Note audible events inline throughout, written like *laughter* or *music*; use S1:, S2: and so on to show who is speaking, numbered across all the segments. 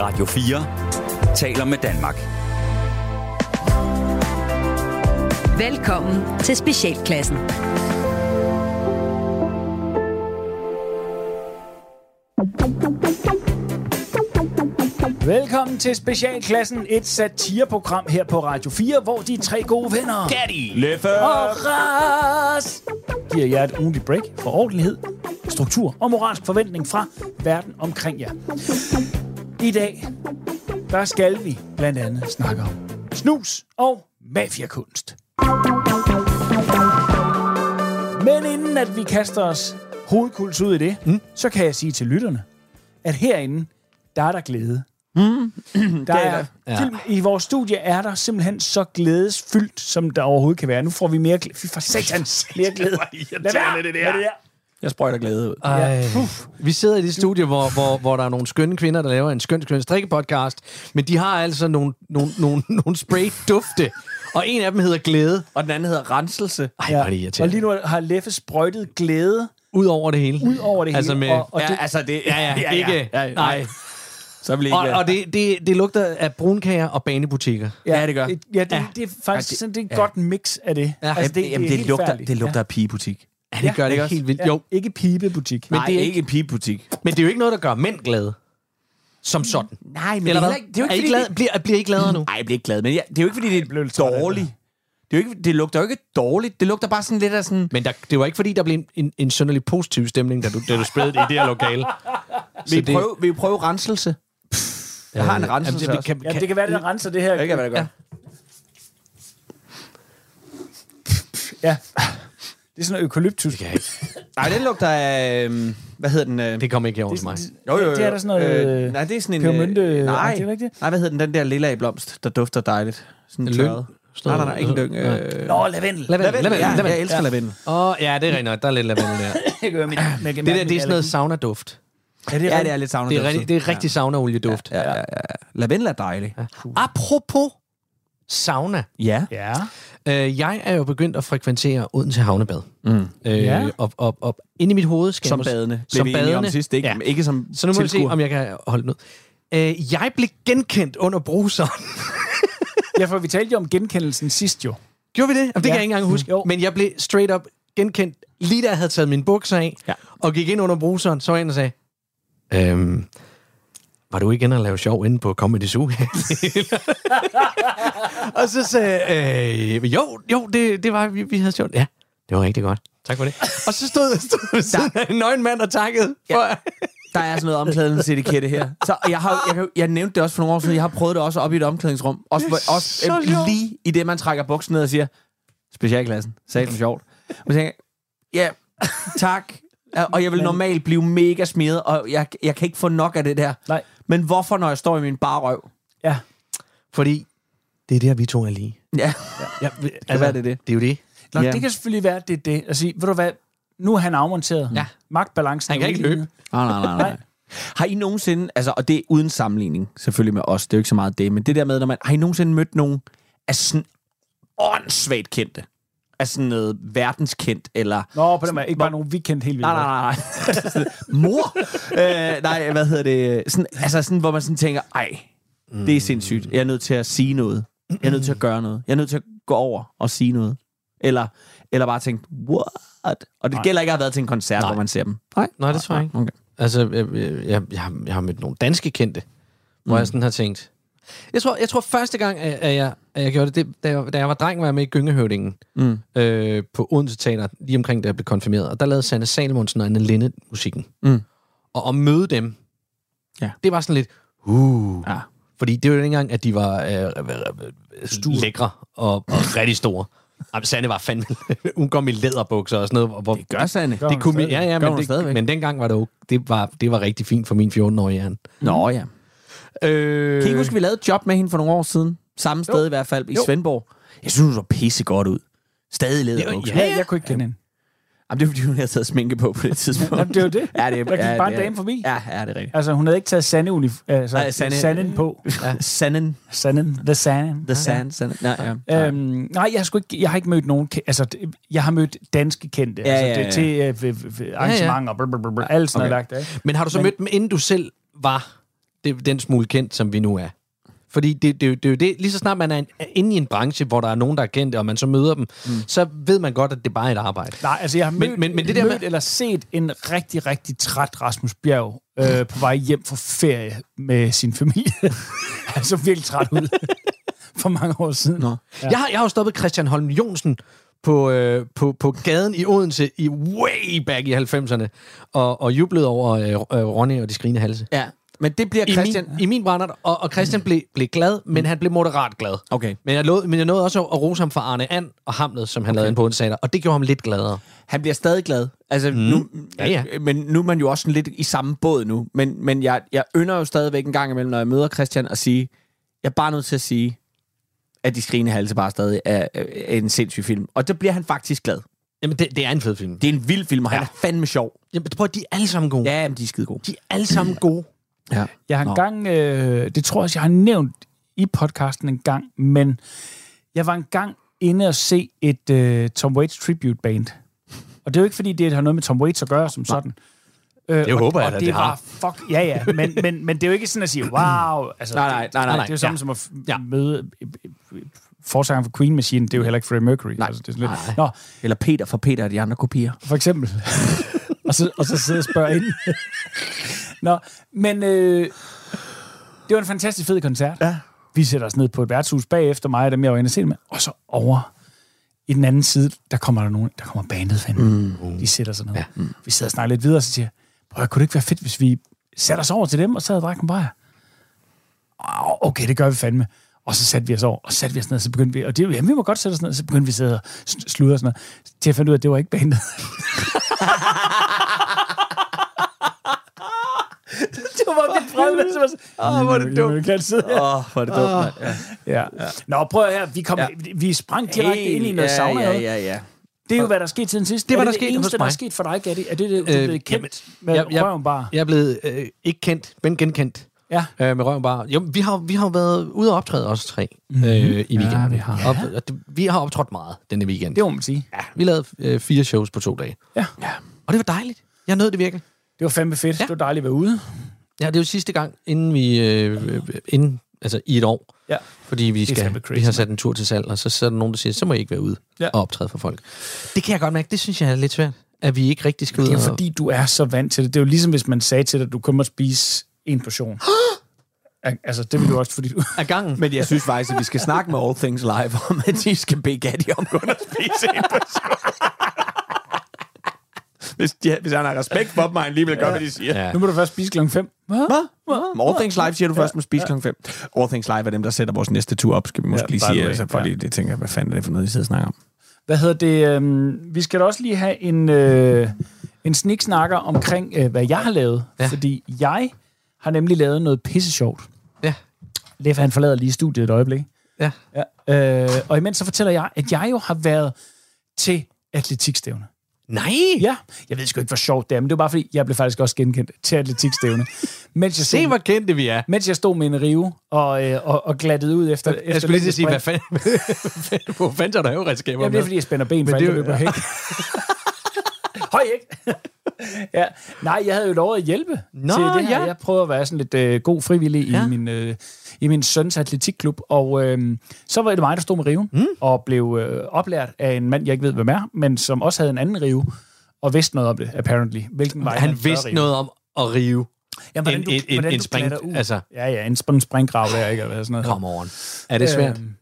S1: Radio 4 taler med Danmark.
S2: Velkommen til Specialklassen.
S3: Velkommen til Specialklassen, et satireprogram her på Radio 4, hvor de tre gode venner
S1: Daddy!
S3: Leffe og Ras giver jer et ugentligt break for ordentlighed, struktur og moralsk forventning fra verden omkring jer. I dag, der skal vi blandt andet snakke om snus og mafiakunst. Men inden at vi kaster os hovedkuls ud i det, mm. så kan jeg sige til lytterne, at herinde, der er der glæde. Mm. *clears throat* der er,
S4: der.
S3: ja. I vores studie er der simpelthen så glædesfyldt, som der overhovedet kan være. Nu får vi mere glæde. Fy for satan, mere glæde. Lad være med det der.
S5: Jeg sprøjter glæde ud.
S4: Ej. Vi sidder i det studie, hvor, hvor, hvor der er nogle skønne kvinder, der laver en skøn, skøn strikkepodcast, men de har altså nogle, nogle, nogle, nogle spray-dufte, og en af dem hedder Glæde,
S5: Og den anden hedder renselse.
S4: Ej, hvor er det irriterende.
S3: Og lige nu har Leffe sprøjtet glæde
S4: ud over det hele.
S3: ud over det
S4: altså
S3: hele.
S4: Med,
S3: og, og
S5: ja,
S3: det,
S5: altså det...
S4: ja, ja, ja, ikke.
S5: Ja, ja,
S4: nej.
S5: Så vil jeg ikke...
S4: Og, og det, det, det lugter af brunkager og banebutikker.
S5: ja, det gør.
S3: Et, ja, det,
S5: Ja.
S3: det er faktisk
S5: Ja, det-
S3: sådan, det er et
S5: ja.
S3: godt mix af det.
S4: Ja,
S3: altså,
S5: det, jamen, det,
S3: helt
S5: lugter,
S3: færdigt.
S5: det lugter af pigebutik.
S4: Ja, det gør det
S5: ikke
S4: ikke
S5: også?
S4: helt vildt.
S3: Ja. Jo.
S4: Jo,
S3: Ikke pibebutik.
S5: Men
S3: Men
S5: Nej, det er ikke en pigebutik.
S4: men det er jo ikke noget, der gør mænd glade. Som sådan.
S5: Nej, men
S4: Eller hvad?
S5: heller ikke- det er jo
S4: er I
S5: ikke,
S4: glade,
S5: fordi...
S4: bliver, bliver I gladere nu?
S5: Nej, jeg bliver ikke glad, men jeg, det er jo ikke, fordi det
S3: blev
S5: er
S3: lidt træt af det
S5: dårligt. Det, er jo ikke, det lugter jo ikke dårligt. Det lugter bare sådan lidt af sådan...
S4: Men der, det var ikke, fordi der blev en, en, en sønderlig positiv stemning, da du, da du spredte det i det her
S5: *laughs*
S4: lokale. Så
S5: Vil I
S4: det- øh,
S5: prøve, vil I prøve renselse? Jeg har en renselse
S4: Jamen, det,
S5: også.
S4: kan,
S3: ja, det kan være, det renser det her.
S5: Det kan være, det gør.
S3: Ja. Det er sådan noget eukalyptus. Det,
S5: Nej, den lugter af... øhm, Hvad hedder den? øh,
S4: det kommer ikke over til mig.
S5: Jo, jo, jo.
S3: det er der sådan noget...
S5: Øh, nej, det er sådan en...
S3: pebermynte-
S5: øh, nej,
S3: Ej, det er ikke det?
S5: nej, hvad hedder den? Den der lilla blomst, der dufter dejligt. Sådan en
S4: En lyng?
S5: tørret.
S4: Sådan
S5: Nej, nej,
S4: noget-
S5: nej, ikke en lyng. Øh, lavendel,
S4: Nej.
S3: Nå,
S5: *laughs*
S3: lavendel.
S4: Lavendel, lavendel,
S5: ja,
S4: lavendel.
S5: jeg elsker lavendel.
S4: Åh, ja, det er rigtigt nok. Der er lidt lavendel der.
S3: Jeg kan høre min- jeg kan
S4: *laughs* Det
S3: mærke
S4: der, det
S3: min
S4: er sådan noget
S3: allergi.
S4: sauna-duft.
S3: Ja, det er,
S5: Ja, det
S3: rigtigt.
S5: er lidt sauna.
S4: Det er, rigtig, det er rigtig sauna-olieduft.
S5: Ja, ja, ja, ja. Lavendel er dejlig.
S4: Apropos sauna.
S5: Ja.
S3: Ja.
S4: Øh, jeg er jo begyndt at frekventere Odense Havnebad.
S5: Mm.
S4: Øh,
S3: Ja.
S4: Og, og, og inde i mit hoved skal jeg
S5: Som
S4: mås-
S5: badende. Blev
S4: Som
S5: vi enige
S4: badende.
S5: Om sidst. Ikke, ja. ikke som
S4: Så nu må vi se,
S5: tilskuer.
S4: om jeg kan holde den ud. Øh, jeg blev genkendt under bruseren. *laughs*
S3: ja, for vi talte jo om genkendelsen sidst jo.
S4: Gjorde vi det? Jamen, det
S3: Ja.
S4: kan jeg ikke engang huske.
S3: Mm. Jo.
S4: Men jeg blev straight up genkendt, lige da jeg havde taget mine bukser af,
S5: Ja.
S4: og gik ind under bruseren, så var jeg ind og sagde, øhm, var du ikke inde og lave sjov inde på Comedy Zoo? *laughs* og så sagde jeg, øh, jo, jo, det, det var, vi, vi havde sjovt. Ja, det var rigtig godt. Tak for det. *laughs* Og så stod, stod ved siden af en nøgen mand og takkede. For, ja.
S5: Der er sådan noget omklædningsetikette her. Så jeg, har, jeg, kan- jeg nævnte det også for nogle år siden. Jeg har prøvet det også op i et omklædningsrum. Også,
S4: Det er
S5: hvor- også
S4: så
S5: øh,
S4: sjovt.
S5: lige i det, man trækker buksen ned og siger, specialklassen, sagde det sjovt. Og tænker, jeg, ja, tak. Ja, Og jeg vil normalt blive mega smidt, og jeg, jeg kan ikke få nok af det der.
S3: Nej.
S5: Men hvorfor, når jeg står i min barrøv?
S3: Ja.
S4: Fordi det er der, vi to er lige.
S5: Ja,
S4: Ja, det,
S5: altså, være, det er det.
S4: det er jo det.
S3: Nå,
S5: Ja.
S3: det kan selvfølgelig være, at det er det. Altså, ved du hvad? Nu er han afmonteret.
S4: Ja.
S3: Magtbalancen
S4: Han
S3: er
S4: kan ikke
S3: udlignet.
S4: løbe.
S5: Nej, nej, nej, nej. Har I nogensinde, altså, og det er uden sammenligning selvfølgelig med os, det er jo ikke så meget det, men det der med, når man, har I nogensinde mødt nogen af sådan åndssvagt kendte? Altså sådan noget verdenskendt, eller...
S3: Nå, på den måde. Ikke bare nogen weekend helt vildt.
S5: Nej, nej, nej, nej. *laughs* Mor! Øh, nej, hvad hedder det? Sådan, altså sådan, hvor man sådan tænker, ej, det er sindssygt. Jeg er nødt til at sige noget. Jeg er nødt til at gøre noget. Jeg er nødt til at gå over og sige noget. Eller, eller bare tænke, what? Og det
S3: Nej.
S5: gælder ikke at have været til en koncert,
S4: Nej.
S5: hvor man ser dem.
S4: Nej, nej, det tror jeg ikke.
S5: Okay.
S4: Altså, jeg, jeg, jeg, jeg, har, jeg har mødt nogle danske kendte, hvor
S5: Mm.
S4: jeg sådan har tænkt... Jeg tror, jeg tror første gang, at at jeg, at jeg gjorde det, det da, jeg, da jeg var dreng, var jeg med i Gyngehøvdingen
S5: Mm.
S4: øh, på Odense Teater, lige omkring, da jeg blev konfirmeret. Og der lavede Sanne Salmonsen og Anne Linde musikken.
S5: Mm.
S4: Og at møde dem,
S5: Ja.
S4: det var sådan lidt... Uh,
S5: Ja.
S4: fordi det var jo ikke engang, at de var øh, øh, lækre og, og rigtig store. Jamen, Sanne var fandme... hun kom i læderbukser og sådan noget. Hvor,
S5: Det gør Sanne.
S3: Gør
S4: det
S3: hun
S4: kunne min,
S3: stadigvæk.
S4: ja, ja,
S5: Gør
S4: men,
S5: hun
S4: det,
S5: stadigvæk.
S4: men dengang var det, jo, det, var, det var rigtig fint for min 14-årige hjerne.
S5: Nå ja.
S4: Øh,
S5: Kan I ikke huske, vi lavede et job med hende for nogle år siden? Samme sted i hvert fald, i
S3: Jo.
S5: Svendborg. Jeg synes, hun så pisse godt ud. Stadig leder.
S4: Det var-
S5: Okay.
S4: ja.
S3: Ja, jeg kunne ikke kende hende.
S5: Jamen, det er fordi, hun havde taget sminke på på det tidspunkt.
S3: Jamen, det er jo det.
S5: Ja, det er,
S3: Der gik
S5: ja,
S3: bare
S5: det
S3: en
S5: er-
S3: dame forbi.
S5: Ja, ja, det er rigtigt.
S3: Altså, hun havde ikke taget sande unif- altså,
S5: Nej,
S3: Nej,
S5: sande-
S3: sande. sanden på.
S5: Ja. Sanden.
S3: Sanden. The sand.
S5: The sand. sand. Nej, ja. ja.
S3: Øhm, nej, jeg har, sgu ikke, jeg har ikke mødt nogen... ke- Altså, det- jeg har mødt danske kendte.
S5: Ja,
S3: altså,
S5: ja,
S3: det, Til
S5: ja.
S3: øh, ved- ved- ved arrangementer, ja, ja. Bl, bl, bl, bl, alt sådan
S5: Okay.
S3: okay. noget. lagt af.
S4: Men har du så
S3: Men-
S4: mødt dem, inden du selv var det, den smule kendt, som vi nu er. Fordi det, det, det, det er jo det, lige så snart man er, en, er inde i en branche, hvor der er nogen, der er kendte, og man så møder dem, mm. så ved man godt, at det er bare er et arbejde.
S3: Nej, altså jeg har mødt,
S4: Men- men- men det der
S3: mødt
S4: med-
S3: eller set en rigtig, rigtig træt Rasmus Bjerg øh, på vej hjem fra ferie med sin familie. *laughs* Han så virkelig træt
S4: *laughs*
S3: ud for mange år siden. Nå.
S4: Ja. Jeg, har, jeg har jo stoppet Christian Holm Jonsen på, øh, på, på gaden i Odense i way back i 90'erne, og, og jublede over øh, øh, Ronny og de skrigende halse.
S5: Ja, men det bliver
S4: I
S5: Christian...
S4: min, i min brændert, og, og Christian blev, blev glad, men han blev moderat glad.
S5: Okay.
S4: Men jeg, lod, men jeg nåede også at rose ham for Arne And og Hamlet, som han okay. lavede ind på onsdag, og det gjorde ham lidt gladere.
S5: Han bliver stadig glad. Altså, mm. nu,
S4: Ja,
S5: ja. Men nu er man jo også sådan lidt i samme båd nu. Men, men jeg, jeg ynder jo stadigvæk en gang imellem, når jeg møder Christian, at sige, jeg er bare nødt til at sige, at De Skrigende Halse bare stadig er, er en sindssyg film. Og der bliver han faktisk glad.
S4: Jamen, det, det er en fed film.
S5: Det er en vild film, og ja. han er fandme sjov.
S4: Jamen, prøv at de er alle sammen gode.
S5: Ja, men de er skide gode.
S4: De er alle sammen gode.
S5: Ja.
S3: Jeg har
S5: Nå.
S3: engang, øh, det tror jeg også, jeg har nævnt i podcasten en gang, men jeg var engang inde og se et øh, Tom Waits tribute band. Og det er jo ikke, fordi det har noget med Tom Waits at gøre som sådan. Øh,
S4: Det
S3: og-
S4: håber jeg
S3: og
S4: da,
S3: det,
S4: det
S3: var
S4: har.
S3: fuck, ja ja, men, men, men det er jo ikke sådan at sige, wow. Altså,
S5: Nej, nej, nej, nej.
S3: Det er jo samme
S5: Ja.
S3: ja. som at f- møde øh, øh, forsangeren for Queen Machine, det er jo heller ikke Freddie Mercury.
S5: Nej,
S3: altså, det er sådan lidt.
S5: nej.
S3: Nå,
S5: Eller Peter fra Peter og de andre kopier.
S3: for eksempel. og, så, og så sidde og spørge ind. Nå, men øh, det var en fantastisk fed koncert. Ja. Vi sætter os ned på et værtshus bagefter mig og dem, jeg var inde og se det med. Og så over i den anden side, der kommer der nogen, der kommer bandet fandme. Mm. De sætter sig ned. Ja. Mm. Vi sidder og snakker lidt videre, og så siger jeg, prøv at, kunne det ikke være fedt, hvis vi satte os over til dem og sad og drak en bajer? "Åh, okay, det gør vi fandme. Og så satte vi os over, og satte vi os ned, og så begyndte vi, og det, jamen, vi må godt sætte os ned, og så begyndte vi at sidde og sn- sludre og sådan noget, til jeg fandt ud af, at det var ikke bandet. *laughs* det var mit fremmede, som var sådan, åh, hvor er det dumt. Kan sidde her.
S5: Åh, oh, hvor er det dumt, mand. Ja.
S3: Ja. Nå, prøv at høre, vi, kom,
S5: Ja.
S3: ja. vi sprang direkte ind i noget
S5: ja,
S3: sauna.
S5: Ja, ja, ja.
S3: Det er jo, hvad der skete siden sidst.
S4: Det var,
S3: er
S4: der
S3: det
S4: skete
S3: det
S4: hos
S3: eneste, der er
S4: mig.
S3: sket Øh, for dig, Gatti? Er det, det, du er blevet kendt med
S4: Øh, jeg, jeg,
S3: røven bare?
S4: Jeg er blevet øh, ikke kendt, men genkendt.
S3: Ja.
S4: Øh, med røven bare. Jo, vi har vi har jo været ude og optræde os tre mm-hmm. øh, i weekenden. Ja, vi har. Op, og det- vi har optrådt meget denne weekend.
S3: Det må man sige.
S4: Ja, vi lavede øh, fire shows på to dage.
S3: Ja.
S4: Og det var dejligt. Jeg nød det virkelig.
S3: Det var fandme fedt. Ja. Det var dejligt at være ude.
S4: Ja, det er jo sidste gang, inden vi... Øh, øh, inden, altså i et år.
S3: Ja.
S4: Fordi vi,
S3: fandme
S4: skal,
S3: crazy,
S4: vi har
S3: mand.
S4: sat en tur til salg, og så, så er der nogen, der siger, så må I ikke være ude
S3: Ja.
S4: ja. og optræde for folk. Det kan jeg godt mærke. Det synes jeg er lidt svært. At vi ikke rigtig skal ud
S3: Det er jo
S4: og-
S3: fordi, du er så vant til det. Det er jo ligesom, hvis man sagde til dig, at du kommer og spise en portion. Al- altså, det ville du også, fordi du...
S4: af gangen.
S5: Men jeg synes faktisk, at vi skal snakke med All Things Live om, at de skal bede Gatti om kun at spise en person. Hvis, de, hvis han har respekt for dem, og han alligevel gør, hvad de siger.
S4: Ja.
S3: Nu må du først spise klokken 5. Hvad?
S5: Hvad? Men All Things Live siger du først, må spise klokken 5. All Things Live er dem, der sætter vores næste tur op, skal vi måske
S3: Ja,
S5: ja, lige
S3: by the
S5: sige.
S3: way,
S5: Altså, fordi
S3: ja.
S5: det tænker jeg, hvad fanden er det for noget, I sidder og snakker om?
S3: Hvad hedder det? Øhm, vi skal da også lige have en, øh, en sniksnakker omkring, øh, hvad jeg har lavet. Ja.
S4: Ja.
S3: Fordi jeg har nemlig lavet noget pisse sjovt.
S4: Ja.
S3: Leffe, han forlader lige studiet et øjeblik.
S4: Ja.
S3: Ja. Øh, og imens så fortæller jeg, at jeg jo har været til atletikstævne.
S4: Nej!
S3: Ja, jeg ved sgu ikke, hvor sjovt det er, men det var bare fordi, jeg blev faktisk også genkendt til atletikstævne. mens, jeg
S4: Se,
S3: stod,
S4: hvor kendte vi er.
S3: mens jeg stod med en rive og, øh, og, og glattede ud efter...
S4: Jeg
S3: efter
S4: skulle lige til at sige, hvad
S3: længdesprint.
S4: fanden... *laughs* Hvor fanden tager du haveredskaber
S3: Jamen, det er,
S4: med?
S3: fordi jeg spænder ben for
S4: Men
S3: alle,
S4: det
S3: der
S4: er jo-
S3: løber hæk. Høj hæk! *laughs* ja. Nej, jeg havde jo lovet at hjælpe
S4: Nå,
S3: til det her.
S4: ja.
S3: Jeg prøvede at være sådan lidt øh, god frivillig ja.
S4: Ja.
S3: i, min, øh, i min søns atletikklub, og øh, så var det mig, der stod med riven, mm. og blev øh, oplært af en mand, jeg ikke ved, hvem er, men som også havde en anden rive, og vidste noget om det, apparently. Hvilken vej
S4: Han
S3: bør
S4: vidste
S3: rive.
S4: noget om at rive
S3: Jamen,
S4: en, en, en, en spring...
S3: glatter ud.
S4: Altså,
S3: Ja, ja, en, sp- en springgrav der, ikke? Eller sådan noget.
S4: kom over. Er det svært?
S3: Øhm,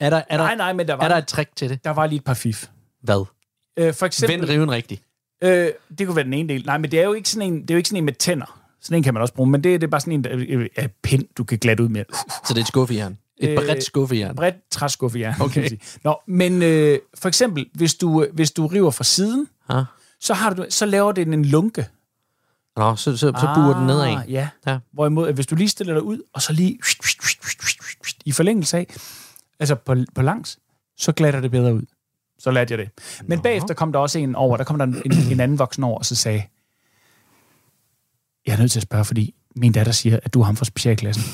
S4: Er der, er der,
S3: nej, nej, men der var,
S4: er der et trick til det?
S3: der var lige et par fif.
S4: Hvad?
S3: Øh, for eksempel,
S4: Vend riven rigtigt.
S3: Øh, det kunne være den ene del. Nej, men det er jo ikke sådan en, det er jo ikke sådan en med tænder. Sådan en kan man også bruge, men det, det er bare sådan en der, øh, øh, pind, du kan glatte ud med.
S4: Så det er et skuffejern. Et
S3: Øh,
S4: bredt skuffejern.
S3: Bredt træskuffe, ja.
S4: Okay.
S3: kan man sige. Nå, men øh, for eksempel, hvis du, øh, hvis du river fra siden,
S4: Ja.
S3: så, har du, så laver den en lunke.
S4: Nå, så, så, så buer den nedad.
S3: Ah, Ja.
S4: Ja.
S3: Hvorimod, at hvis du lige stiller dig ud, og så lige i forlængelse af, altså på, på langs, så glatter det bedre ud. Så lærte jeg det. Men Nå. bagefter kom der også en over, der kom der en, en, en anden voksen over, og så sagde, jeg er nødt til at spørge, fordi min datter siger, at du er ham fra specialklassen.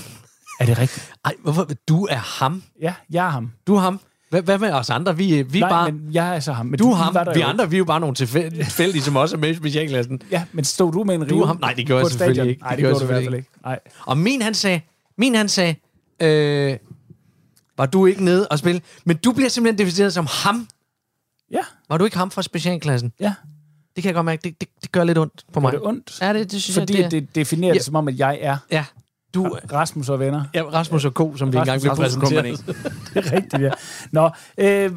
S3: Er det rigtigt?
S4: Ej, hvorfor? Du er ham.
S3: Ja, jeg er ham.
S4: Du er ham. Hvad, hvad med os andre? Vi, øh, vi er
S3: Nej,
S4: bare...
S3: men jeg er så ham. Men
S4: Du
S3: I
S4: er ham,
S3: var der
S4: vi
S3: jo ikke.
S4: andre, vi er jo bare nogle tilfæ- tilfældige, som også er med i specialklassen.
S3: Ja, men stod du med en rive?
S4: ham. Nej, det gjorde jeg
S3: på et
S4: selvfølgelig
S3: stadion?
S4: ikke.
S3: Nej,
S4: Det
S3: det,
S4: gjorde
S3: gjorde,
S4: jeg
S3: du i hvert fald ikke. Nej.
S4: Og min han sagde, min han sagde, øh, var du ikke nede og spille? Men du bliver simpelthen defineret som ham.
S3: Ja,
S4: Var du ikke ham fra specialklassen?
S3: ja.
S4: Det kan jeg godt mærke, det, det, det gør lidt ondt på mig.
S3: Var det ondt?
S4: Ja, det, det synes
S3: Fordi
S4: jeg,
S3: det, det definerer
S4: Ja.
S3: det som om, at jeg er
S4: Ja, du,
S3: Rasmus og venner.
S4: ja, Rasmus og Ko, som vi engang blev
S5: Rasmus
S4: præsenteret.
S5: Company.
S3: Det er rigtigt, ja. Nå, øh,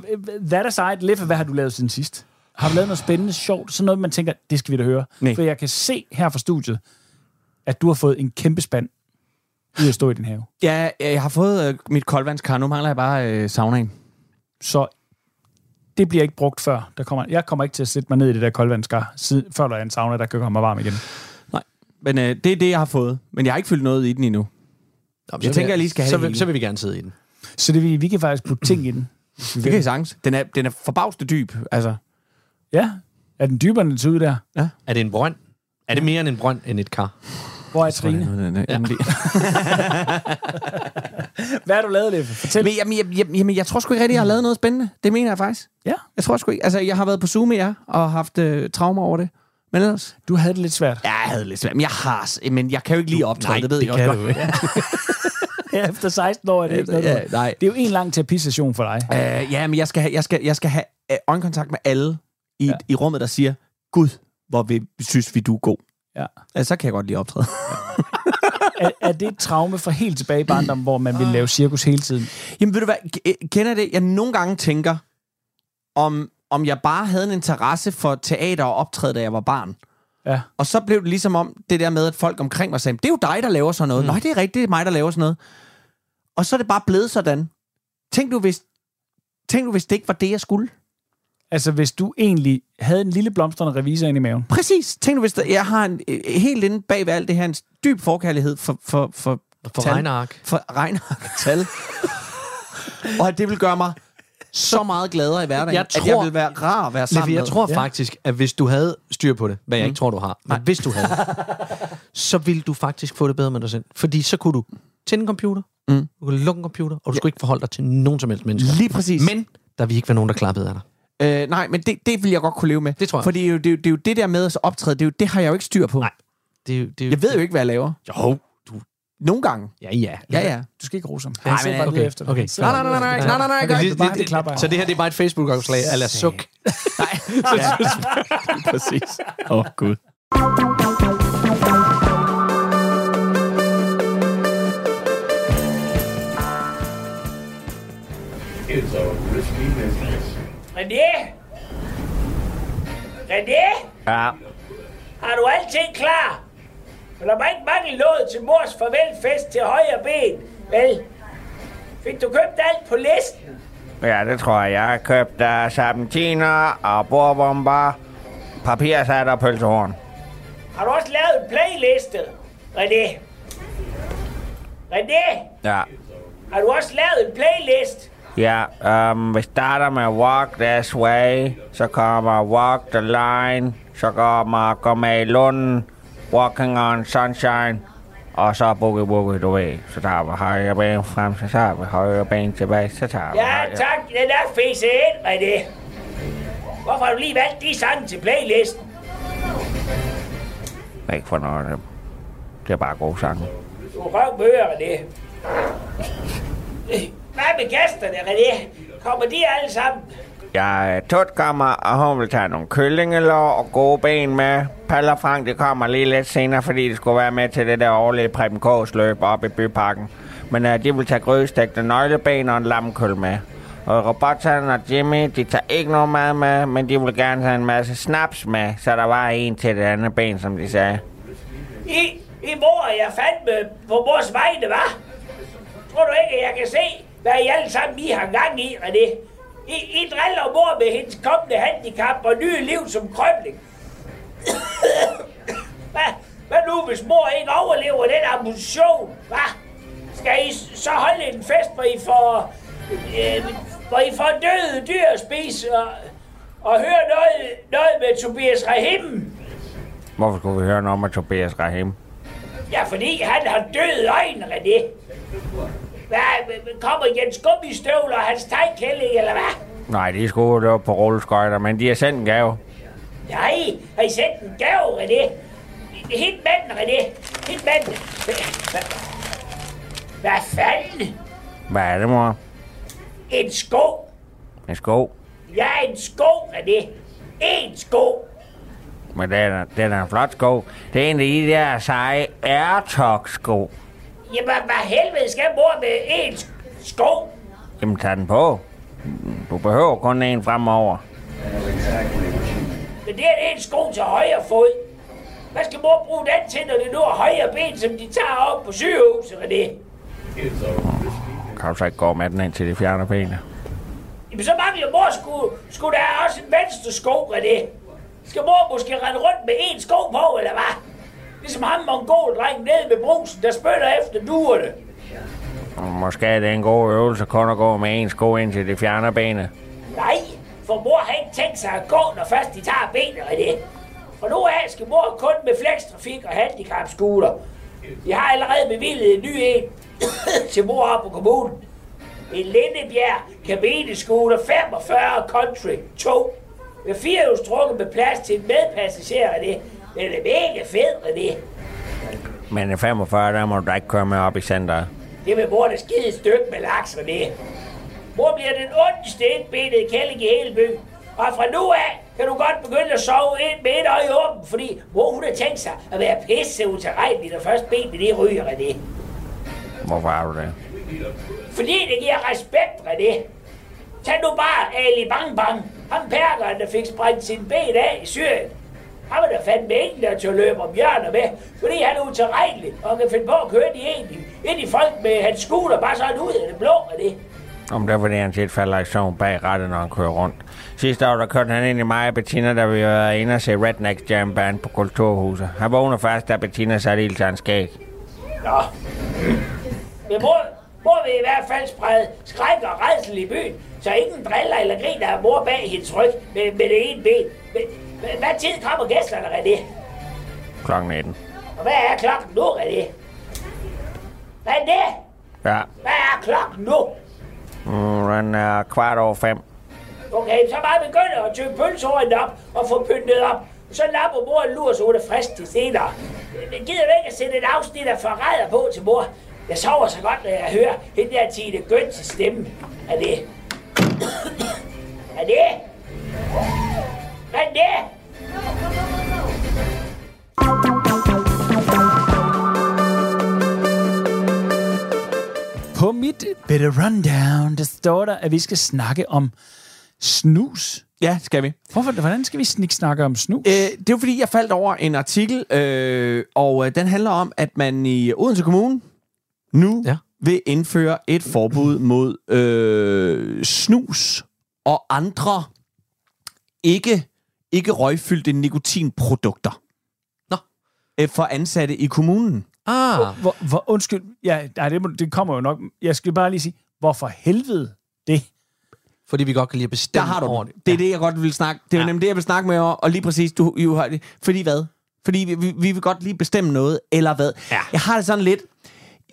S3: that aside, Leffe, hvad har du lavet siden sidst? Har du lavet noget spændende, sjovt? Sådan noget, man tænker, det skal vi da høre.
S5: Nej.
S3: For jeg kan se her fra studiet, at du har fået en kæmpe spand ud at stå i din have.
S5: Ja, jeg har fået øh, mit koldvandskar. Nu mangler jeg bare øh, saunaen.
S3: Så det bliver ikke brugt før. Der kommer, jeg kommer ikke til at sætte mig ned i det der koldvandskar, siden- før der er en sauna, der kan komme mig varm igen.
S5: Men øh, det er det, jeg har fået. Men jeg har ikke fyldt noget i den endnu. Jeg tænker, jeg lige skal have
S4: så,
S5: det
S4: vil,
S5: hele.
S4: så vil vi gerne sidde i den.
S3: Så det, vi, vi kan faktisk putte ting i den.
S5: Det kan I sagtens. Den er, den er forbavsende dyb. Altså,
S3: Ja, er den dybere, end den ser ud der?
S4: Er det en brønd? Er det mere end en brønd end et kar?
S3: Hvor er Trine?
S5: den er, jamen, det,
S3: Hvad har du lavet, Leffe? Fortæl.
S5: Men jamen, jamen, jamen, jamen, jeg tror sgu ikke rigtig, jeg har lavet noget spændende. Det mener jeg faktisk.
S3: Ja.
S5: Jeg tror sgu ikke. Altså, jeg har været på Zoom med jer og haft øh, traumer over det. Men ellers...
S3: Du havde det lidt svært.
S5: Ja, jeg havde lidt svært. Men jeg har... s- Men jeg kan jo ikke lige optræde,
S4: Nej,
S5: det ved
S4: det
S5: jeg
S4: kan
S5: også
S4: du
S5: godt.
S3: *laughs* Ja, efter 16 år er det ikke noget.
S5: Ja,
S3: Ja,
S5: nej.
S3: det er jo en lang terapisession for dig.
S5: Øh, ja, men jeg skal have, jeg skal, jeg skal have øh, øjenkontakt med alle i, ja. i rummet, der siger, Gud, hvor vi synes vi, du er god.
S3: Ja.
S5: Altså, så kan jeg godt lige optræde. *laughs*
S3: Er, er det et traume fra helt tilbage i barndommen, hvor man ville lave cirkus hele tiden?
S5: Jamen, ved du hvad, k- øh, kender det? Jeg nogle gange tænker, om, om jeg bare havde en interesse for teater og optræde, da jeg var barn.
S3: Ja.
S5: Og så blev det ligesom om det der med, at folk omkring mig sagde, det er jo dig, der laver sådan noget. Mm. Nej, det er rigtigt, det er mig, der laver sådan noget. Og så er det bare blevet sådan. Tænk nu, hvis, tænk nu, hvis det ikke var det, jeg skulle.
S3: Altså, hvis du egentlig havde en lille blomstrende revisor ind i maven.
S5: Præcis. Tænk nu, hvis der, jeg har en, øh, helt inde bag ved alt det her en dyb forkærlighed for, for, for,
S4: For
S5: tal.
S4: regneark.
S5: For regneark og tal. *laughs* og at det vil gøre mig så meget gladere i hverdagen,
S4: Jeg
S5: jeg tror, at
S4: tror-
S5: jeg vil være rar at være sammen
S4: Levi, jeg
S5: med.
S4: tror faktisk, at hvis du havde styr på det, hvad jeg ikke tror, du har, men hvis du havde, så ville du faktisk få det bedre med dig selv. Fordi så kunne du tænde en computer, mm. du kunne lukke en computer, og du skulle ikke forholde dig til nogen som helst mennesker.
S5: Lige præcis.
S4: Men der vil ikke være nogen, der klappede af dig.
S5: Øh, nej, men det, det vil jeg godt kunne leve med.
S4: Det tror jeg.
S5: Fordi det er jo det, er jo- det, er jo det der med at så optræde, det, er jo, det har jeg jo ikke styr på.
S4: Nej. Det, er jo- det,
S5: Jeg ved jo ikke, hvad jeg laver.
S4: Jo,
S5: Nogle gange.
S4: ja, ja.
S5: Ja, ja.
S3: Du skal ikke rose ham.
S5: Nej,
S3: Han sidder
S5: men-
S3: bare
S4: okay,
S3: okay. efter dig.
S4: okay.
S3: Han sidder
S5: Nej, nej, nej,
S3: leder
S5: nej,
S3: efter
S5: nej,
S3: dig.
S5: nej,
S3: Han
S5: nej,
S3: kan
S5: nej,
S3: sidde bare- Det klapper
S4: Så det her, det er bare et Facebook-opslag, eller suk.
S5: Præcis. Åh, oh, Gud.
S2: It's a risky business.
S6: René? René?
S7: Ja,
S6: Har du alting klar? For der var ikke mange låd til mors farvelfest til højre ben, vel? Fik du købt alt på listen?
S7: ja, det tror jeg. Jeg har købt uh, serpentiner og borbomber, papirsat og pølsehorn.
S6: Har du også lavet en playliste, René? René?
S7: Ja,
S6: Har du også lavet en playlist?
S7: ja um, vi starter med Walk This Way, så kommer Walk The Line, så kommer Gå med i Lunden, Walking on Sunshine, og så Boogie Woogie, du ved. Så tager vi højre ben frem, så tager vi højre ben tilbage, så tager vi
S6: Ja,
S7: højre-
S6: tak. Den er fæset ind, René. Hvorfor har du lige valgt de sange til playlisten?
S7: Ikke for noget. af dem. Det er bare gode sange.
S6: Du er røvmøger, René. Hvad med gæsterne, René? Kommer de alle sammen?
S7: Jeg er tutgammer, og hun vil tage nogle kyllingelår og gode ben med. Palle og Frank, det kommer lige lidt senere, fordi det skulle være med til det der årlige Preben Kås løb oppe i byparken. Men uh, de vil tage grødstægte nøgleben og en lammekøl med. Og Robotan og Jimmy, de tager ikke noget mad med, men de vil gerne have en masse snaps med, så der var en til det andet ben, som de sagde.
S6: I, I mor, jeg fandme på mors vegne, var. Tror du ikke, at jeg kan se, hvad I alle sammen I har gang i, René? I, I driller mor med hendes kommende handicap og nye liv som krøbling. hvad, hvad nu, hvis mor ikke overlever den ambition, hva? Skal I s- så holde en fest, hvor I får, øh, hvor I får døde dyr at spise og, og høre noget, noget med Tobias Rahim?
S7: Hvorfor skulle vi høre noget om Tobias Rahim?
S6: Ja, fordi han har døde øjne, René. Hvad, kommer Jens Gummistøvler og hans tegkælling, eller hvad?
S7: Nej, de skulle jo på rulleskøjter, men de har sendt en gave.
S6: Nej, har I sendt en gave, René? Helt manden, René. Helt manden. Hvad, hvad fanden?
S7: Hvad er det, mor?
S6: En sko?
S7: En sko.
S6: Ja, en sko, René. En sko.
S7: Men den er, den er en flot sko. Det er en af de der seje Airtox-sko.
S6: Jamen, hvad helvede skal mor med en sk- sko?
S7: Jamen, tag den på. Du behøver kun en fremover.
S6: Men det er en sko til højre fod. Hvad skal mor bruge den til, når det nu er højre ben, som de tager op på sygehuset, René?
S7: Kan du så ikke gå med den ind til de fjerner benene?
S6: Jamen, så mangler mor skulle, skulle der også en venstre sko, René. Skal mor måske rende rundt med en sko på, eller hvad? Ligesom ham mongoldrengen nede med brusen, der spytter efter duerne.
S7: Måske er det en god øvelse kun at gå med en sko ind til de fjerner benene.
S6: Nej, for mor har ikke tænkt sig at gå, når først de tager benene af det. For nu af skal mor kun med flekstrafik og handicapskuler. Vi har allerede bevillet en ny en *coughs* til mor op på kommunen. En Lindebjerg kabineskuler 45 Country 2. Med firehjulstrukket med plads til en medpassager af det. Den er mega fed af det.
S7: Men i 45, der må du da ikke køre med op i centret.
S6: Det vil mor da skide et stykke med laks med det. Mor bliver den ondeste indbenede kælling i hele byen. Og fra nu af kan du godt begynde at sove ind med et øje åbent, fordi mor hun har tænkt sig at være pisse utilregnelig, når først benene det ryger af det.
S7: Hvorfor har du det?
S6: Fordi det giver respekt, René. Tag nu bare Ali Bang Bang, ham perkeren, der fik sprængt sin ben af i Syrien. Han var der fandme ingen, der til at løbe om hjørner med, fordi han er utilregnelig og kan finde på at køre de egentlig ind i folk med hans skulder bare sådan ud af det blå, René.
S7: Om det er fordi, han tit falder i søvn bag rattet, når han kører rundt. Sidste år, der kørte han ind i mig og Bettina, da vi var inde og se Redneck Jam Band på Kulturhuset. Han vågner først, da Bettina satte ild til hans skæg.
S6: Nå. Men mor, mor vil i hvert fald sprede skræk og redsel i byen, så ingen driller eller griner af mor bag hendes ryg med, med det ene ben. Men, men hvad tid kommer gæsterne, René?
S7: Klokken 19.
S6: Og hvad er klokken nu, René? René,
S7: Ja,
S6: hvad er klokken nu?
S7: mm, den er kvart over fem.
S6: Okay, så bare begynder at tømme pølsehåret op og få pyntet op. Så lapper mor en lur, så hun er frisk til senere. Men gider du ikke at sætte et afsnit af forræder på til mor? Jeg sover så godt, når jeg hører hende der Tine Gønses stemme. Er det? er det? Er det?
S3: På mit bitte rundown, der står der, at vi skal snakke om snus.
S5: Ja, skal vi.
S3: Hvorfor, hvordan skal vi snikke snakke om snus?
S5: Øh, det er jo fordi, jeg faldt over en artikel, øh, og øh, den handler om, at man i Odense Kommune nu ja.
S4: Ja.
S5: vil indføre et forbud mod øh, snus og andre ikke, ikke røgfyldte nikotinprodukter.
S4: Nå.
S5: Øh, for ansatte i kommunen.
S4: Ah,
S3: Hvor, hvor, undskyld, ja, nej, det, må, det kommer jo nok. Jeg skal bare lige sige, hvorfor helvede det?
S4: fordi vi godt kan lide at
S5: Der
S4: bestemme
S5: har du
S4: over
S5: den. Det er det, jeg godt vil snakke. Det er ja. nemlig det, jeg vil snakke med om. Og lige præcis, du, du har det. Fordi hvad? Fordi vi, vi, vi vil godt lige bestemme noget, eller hvad? Ja. Jeg har det sådan lidt...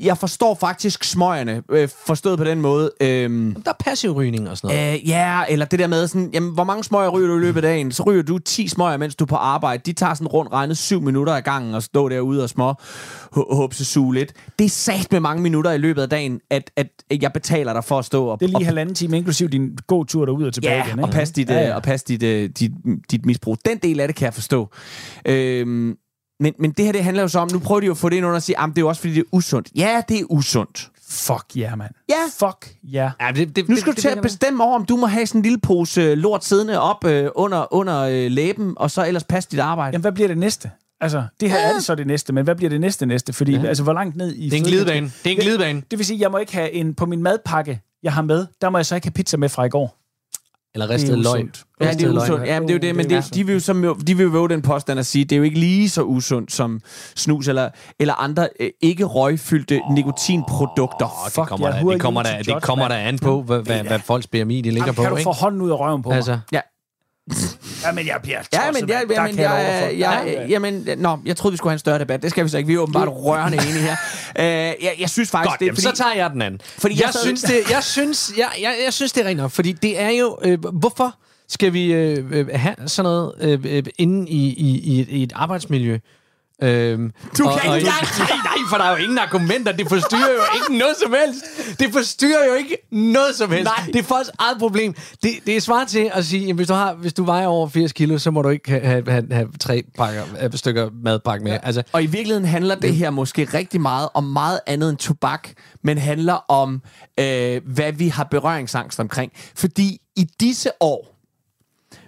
S5: Jeg forstår faktisk smøgerne, øh, forstået på den måde. Øhm,
S4: Der er passiv rygning og sådan noget.
S5: Øh, ja, yeah, eller det der med sådan, jamen, hvor mange smøger ryger du i løbet af dagen? Så ryger du 10 smøger, mens du er på arbejde. De tager sådan rundt regnet 7 minutter ad gangen og stå derude og små h- håbse suge lidt. Det er sagt med mange minutter i løbet af dagen, at, at at jeg betaler dig for at stå og,
S3: Det er lige
S5: og,
S3: halvanden time, inklusiv din god tur derud og tilbage
S5: ja,
S3: igen.
S5: og
S3: ikke?
S5: pas dit, ja, ja. Og pas dit, øh, dit, dit misbrug. Den del af det kan jeg forstå. Øhm, men, men det her, det handler jo så om, nu prøver de jo at få det ind under og sige, at det er jo også fordi, det er usundt. Ja, det er usundt.
S3: Fuck ja, yeah, mand.
S5: Ja.
S3: Fuck ja. Yeah.
S4: Ja, det, det,
S5: Nu skal du til at
S4: det-
S5: bestemme over, om du må have sådan en lille pose øh, lort siddende op øh, under, under øh, læben, og så ellers passe dit arbejde.
S3: Jamen, hvad bliver det næste? Altså, det her ja. er det så det næste, men hvad bliver det næste næste? Fordi, ja. altså, hvor langt ned i...
S4: Det er en glidebane. Det er en glidebane.
S3: Det vil sige, jeg må ikke have en på min madpakke, jeg har med. Der må jeg så ikke have pizza med fra i går.
S4: Eller
S3: Det
S4: ristet
S3: er jo
S4: løg.
S3: sundt.
S5: Ja, det er
S4: Ristet
S5: usundt.
S4: løg.
S5: Ja, men det er jo det, men det, de vil jo, som, de vil jo våge den påstand at sige, det er jo ikke lige så usundt som snus eller, eller andre øh, ikke røgfyldte oh, nikotinprodukter.
S4: Det kommer,
S3: jeg
S4: da,
S3: hurtigt
S4: det, kommer
S3: til
S4: da,
S3: judge,
S4: det kommer da an på, hvad, hvad, hvad folks BMI de ligger
S3: Jamen,
S4: på,
S3: kan du få
S4: ikke?
S3: hånden ud af røven på altså.
S4: Altså,
S3: mig? Jamen, jeg bliver tosset,
S5: Ja, men jeg,
S3: mand. Der
S5: jeg,
S3: kan
S5: jeg,
S3: jeg, love
S5: jeg,
S3: for.
S5: jeg, jamen, nå, jeg troede, vi skulle have en større debat. Det skal vi så ikke. Vi er åbenbart rørende enige her. Øh, jeg, jeg synes faktisk,
S4: Godt,
S5: altså, det er
S4: jamen, så tager jeg den anden. Fordi jeg, jeg,
S5: sad-
S4: synes, det, jeg, synes, jeg, jeg, jeg synes, det er rigtigt nok, fordi det er jo... Øh, hvorfor skal vi øh, øh, have sådan noget øh, øh, inde i, i, i, et, i et arbejdsmiljø? Øhm, du
S5: kan ikke
S4: nej, nej, for der er jo ingen argumenter. Det forstyrrer jo ikke noget som helst. Det forstyrrer jo ikke noget som helst.
S5: Nej.
S4: Det er folks eget problem. Det, det er svaret til at sige, at hvis, du har, hvis du vejer over 80 kilo, så må du ikke have, have, have, have tre pakker, øh, stykker madpakke med. Altså,
S5: Og i virkeligheden handler det her måske rigtig meget om meget andet end tobak, men handler om, øh, hvad vi har berøringsangst omkring. Fordi i disse år,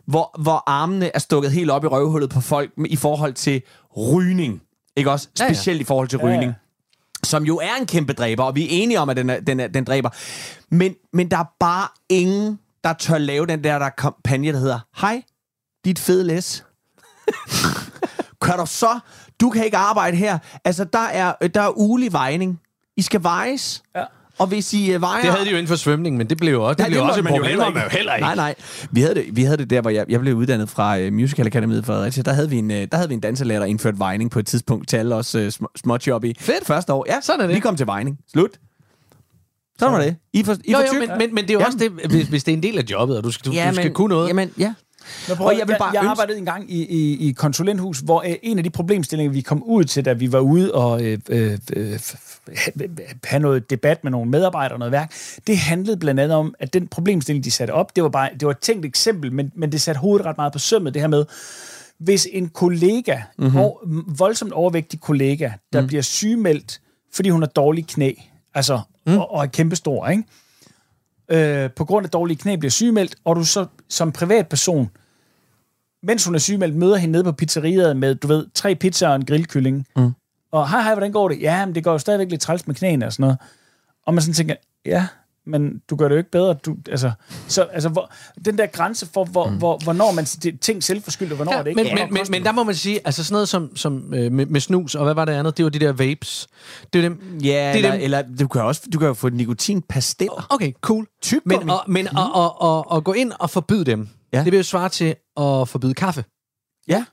S5: hvor, hvor armene er stukket helt op i røvhullet på folk med, i forhold til rygning, ikke også?
S4: Ja, ja.
S5: Specielt i forhold til rygning. Som jo er en kæmpe dræber, og vi er enige om, at den, er, den, er, den dræber. Men, men der er bare ingen, der tør lave den der, der kampagne, der hedder, hej, dit fede læs. Kør du så? Du kan ikke arbejde her. Altså, der er, øh, der er ugelig vejning. I skal vejes. Ja. Og hvis I øh, vejer...
S4: det havde de jo inden for svømning, men det blev jo også, det
S5: Nej,
S4: blev
S5: måtte
S4: også et
S5: man jo
S4: problem.
S5: heller ikke. Nej, nej. Vi havde det, vi havde det der, hvor jeg, jeg blev uddannet fra uh, Musical Academy i Fredericia. Der havde vi en, uh, der havde vi en danselærer, der indførte vejning på et tidspunkt til alle os uh, sm- småjob i
S4: Fedt.
S5: første år. Ja,
S4: Sådan er det.
S5: Vi kom til vejning. Slut. Sådan var det. I for, I
S4: Jo,
S5: for
S4: jo,
S5: tyk.
S4: men, men, men det er jo
S5: Jamen.
S4: også det, hvis, hvis det er en del af jobbet, og du skal, du, ja, du skal men, kunne noget.
S5: Jamen, ja.
S3: Men prøv,
S5: Og
S3: at-
S5: jeg vil bare
S3: jeg, jeg
S5: ønske-
S3: arbejdede engang i, i, i et konsulenthus, hvor øh, en af de problemstillinger, vi kom ud til, da vi var ude og øh, øh, øh, have noget debat med nogle medarbejdere og noget værk, det handlede blandt andet om, at den problemstilling, de satte op, det var, bare, det var et tænkt eksempel, men, men det satte hovedet ret meget på sømmet, det her med, hvis en kollega,
S5: Mhm.
S3: mm-hmm. og, voldsomt overvægtig kollega, der mm. bliver sygemeldt, fordi hun har dårlige knæ, altså,
S5: Mhm.
S3: mm. og, og er kæmpestor, ikke? øh, på grund af dårlige knæ bliver sygemeldt, og du så som privatperson, mens hun er sygemeldt, møder hende nede på pizzeriet med, du ved, tre pizzaer og en grillkylling. Mm. Og hej, hej, hvordan går det? Ja, men det går jo stadigvæk lidt træls med knæene og sådan noget. Og man sådan tænker, ja, men du gør det jo ikke bedre. Du, altså, så, altså, hvor, den der grænse for, hvor, mm. hvor, hvornår man det, er ting selvforskyldt, og hvornår ja, er det ikke.
S4: men, men, men, men der må man sige, altså sådan noget som, som øh, med, med snus, og hvad var det andet? Det var de der vapes. Det var dem.
S5: Ja,
S4: det er
S5: eller,
S4: dem.
S5: eller du, kan også, du kan jo få nikotinpastiller.
S4: Okay, cool.
S5: Tyk
S4: Men, og, men mm. og, og, og, og gå ind og forbyde dem,
S5: Ja.
S4: ja. det vil jo svare til at forbyde kaffe.
S5: Ja,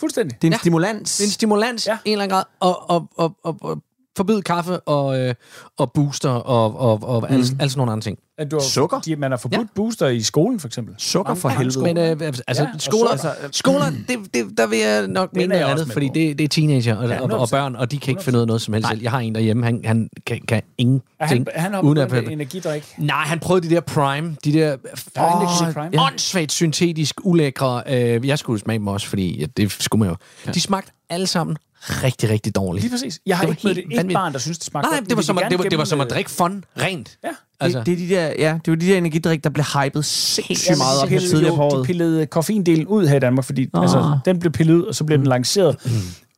S3: Fuldstændig.
S5: det er en ja.
S4: Ja.
S5: stimulans.
S4: Det er en stimulans ja.
S3: Ja.
S4: i en eller anden grad, og, og, og, og, og forbyde kaffe og, øh, og booster og, og, og mm. alle, alle sådan nogle andre ting.
S3: At du har,
S5: Sukker?
S3: De, man har forbudt ja. booster i skolen, for eksempel.
S5: Sukker for
S4: Ja,
S5: helvede.
S4: Men øh, altså,
S3: Ja,
S4: ja,
S3: og
S4: skoler,
S3: så- altså, øh,
S4: skoler det, det, der vil jeg nok mene
S3: er
S4: noget
S3: jeg
S4: andet,
S3: også med
S4: fordi
S3: på.
S4: det, det er teenager og,
S3: Ja,
S4: og, og
S3: 100%.
S4: børn, og de kan ikke finde ud af noget som helst selv. Jeg har en derhjemme, han, han kan, kan
S3: At han,
S4: ingenting.
S3: han har
S4: uden at-
S3: begyndt en energidrik.
S4: Nej, han prøvede de der Prime, de der
S3: Index i
S4: åh,
S3: Prime.
S4: ja. åndssvagt syntetisk ulækre. Øh, jeg skulle smage dem også, fordi ja, det skulle man jo. Ja. De smagte alle sammen rigtig, rigtig dårligt.
S3: Lige præcis. Jeg har
S4: Det var
S3: ikke mødt
S4: helt
S3: et
S4: vanvittigt.
S3: barn, der synes, det smagte
S4: Nej,
S3: godt.
S4: nej, det var,
S3: Vi
S4: som
S3: vil
S4: at, det, var,
S3: gerne
S4: det var
S3: gemme,
S4: som at
S3: øh,
S4: drikke fun rent.
S3: Ja.
S4: Altså,
S5: Det, det, er de der, ja, det var de der energidrik, der blev hypet sindssygt meget op her
S3: pillede
S5: tidligere på
S3: jo, de
S5: året.
S3: pillede koffeindelen ud her i Danmark, fordi oh. altså, den blev pillet ud, og så blev
S5: Mm.
S3: den lanceret.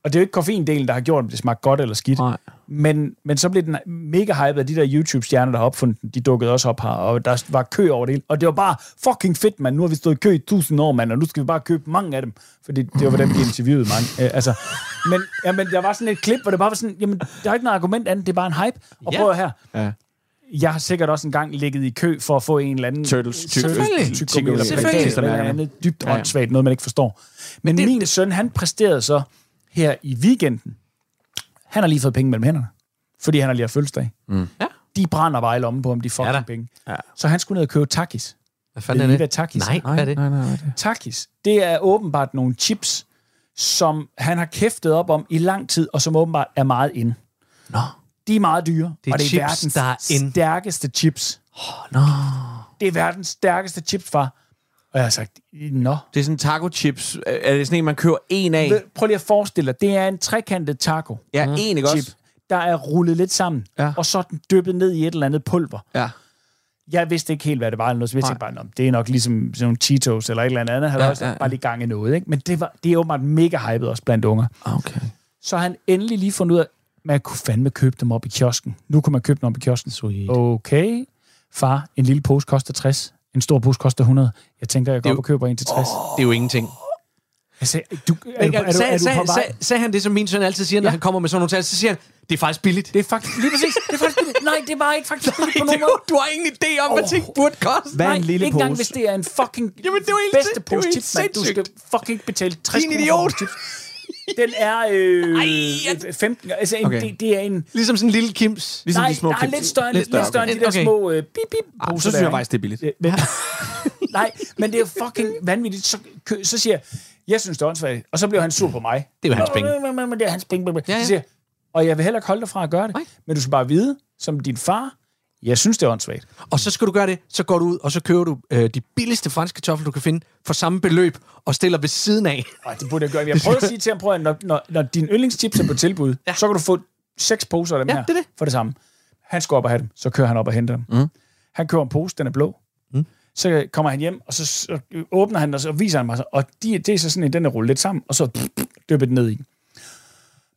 S3: Og det er jo ikke koffeindelen, der har gjort, om det smagte godt eller skidt.
S5: Nej.
S3: Men, men så blev den mega hyped af de der YouTube-stjerner, der har opfundet den. De dukkede også op her, og der var kø over det hele. Og det var bare fucking fedt, mand. Nu har vi stået i kø i tusind år, mand, og nu skal vi bare købe mange af dem. Fordi det var dem, de interviewede mange. Øh, altså, men, ja, men der var sådan et klip, hvor det bare var sådan, jamen, der er ikke noget argument andet, det er bare en hype. Og
S4: Ja.
S3: prøv at her,
S5: Ja.
S3: jeg har sikkert også engang ligget i kø for at få en eller anden...
S5: Turtles, tyk-
S4: Selvfølgelig.
S3: Tyk,
S5: Tyggegummi.
S3: eller
S4: Selvfølgelig.
S3: plakat, eller
S5: Klistermærkerne.
S3: andet dybt
S5: Ja, ja.
S3: åndssvagt, noget man ikke forstår. Men
S4: det-
S3: det, min søn, han præsterede så her i weekenden. Han har lige fået penge mellem hænderne, fordi han har lige haft fødselsdag. Mm.
S4: Ja.
S3: De brænder bare i lommen på, om de
S4: Ja
S3: fucking
S4: da.
S3: ja, penge. Ja. Så han skulle ned og købe takis.
S4: Hvad fanden
S3: Ved
S4: er
S3: I,
S4: det?
S3: hvad Takis er?
S4: Nej, hvad er det?
S3: Takis, det er åbenbart nogle chips, som han har kæftet op om i lang tid, og som åbenbart er meget inde.
S4: Nå.
S3: De er meget dyre,
S4: Det er
S3: og det er
S4: chips,
S3: verdens
S4: der er inde.
S3: stærkeste chips. Oh, no. Det er verdens stærkeste chips, far. Og jeg har sagt, nå.
S5: Det er sådan taco chips. Er det sådan en, man køber en af?
S3: Ved- Prøv lige at forestille dig, det er en trekantet taco.
S5: Ja, en, ikke
S3: Chip,
S5: også?
S3: der er rullet lidt sammen,
S5: Ja.
S3: og så er den dyppet ned i et eller andet pulver.
S5: Ja.
S3: Jeg vidste ikke helt, hvad det var, eller noget, så jeg tænkte bare, "Nå, det er nok ligesom sådan nogle Cheetos eller et eller andet andet, han
S5: Ja,
S3: ja, også
S5: ja,
S3: ja,
S5: ja.
S3: bare lige gang i noget. Ikke? Men det, var, det er åbenbart mega hypet også blandt unger.
S5: Okay.
S3: Så har han endelig lige fundet ud af, man kunne fandme købe dem op i kiosken. Nu kan man købe dem op i kiosken.
S4: Sweet.
S3: Okay, far, en lille pose koster 60, en stor pose koster 100. Jeg tænker, jeg går
S4: Det-
S3: op og køber en til 60.
S4: Det er jo ingenting.
S3: Jeg sagde, du, er, du, er, du, er, du,
S4: Sag-
S3: på
S4: sag-
S3: vej?
S4: sag- Sagde han det, som min søn altid siger, når
S3: Ja.
S4: han kommer med sådan nogle tal, så siger han, det er faktisk billigt. *laughs*
S3: Det er faktisk... Lige præcis. Det er faktisk billigt. Nej, det var ikke faktisk billigt på nogen
S4: Det-
S3: måde.
S4: Du har ingen idé om, hvad ting burde koste.
S5: Hvad er en
S3: Nej,
S5: lille
S3: ikke engang,
S5: pose?
S3: hvis det er en fucking
S4: Jamen, det er jo helt
S3: bedste
S4: sind- det er jo
S3: pose
S4: helt
S3: chips, mand. Du skal
S4: sindssygt.
S3: fucking betale 60
S4: Din
S3: kroner
S4: idiot.
S3: for en chips. Den er øh, 15. Altså, en, okay.
S5: Okay.
S3: det, det er en...
S4: Ligesom sådan en lille kims.
S5: Ligesom
S3: Nej,
S5: de små
S3: der er
S5: kims.
S3: lidt større, lidt, lidt større end de der
S4: okay.
S3: små øh, bip, bip,
S5: Ah,
S3: poser
S5: så synes
S3: der,
S5: jeg
S3: ikke?
S5: faktisk, det er billigt.
S3: Øh, Men,
S4: *laughs*
S3: nej, men det er fucking vanvittigt. Så, kø- så siger jeg, jeg synes, det er åndssvagt. Og så bliver han sur på mig.
S4: Det er jo hans penge.
S3: *laughs* Men, men, men, men det er hans penge. men, men.
S4: Ja, ja.
S3: Så siger jeg, og jeg vil heller ikke holde dig fra at gøre det.
S4: Nej.
S3: Men du skal bare vide, som din far, jeg synes, det er åndssvagt.
S4: Og så skal du gøre det, så går du ud, og så køber du øh, de billigste franske kartofler, du kan finde, for samme beløb, og stiller ved siden af.
S3: Ej, det burde jeg gøre. Jeg prøvede at sige til ham, prøv at, når, når, når din yndlingschips er på tilbud, ja. så kan du få seks poser af dem
S4: Ja,
S3: her
S4: det er det.
S3: for det samme. Han skal op og have dem, så kører han op og henter dem. Mm. Han køber en pose, den er blå. Mm. Så kommer han hjem, og så, så åbner han, og så viser han mig, så, og de, det er så sådan en, den er rullet lidt sammen, og så dypper den ned i.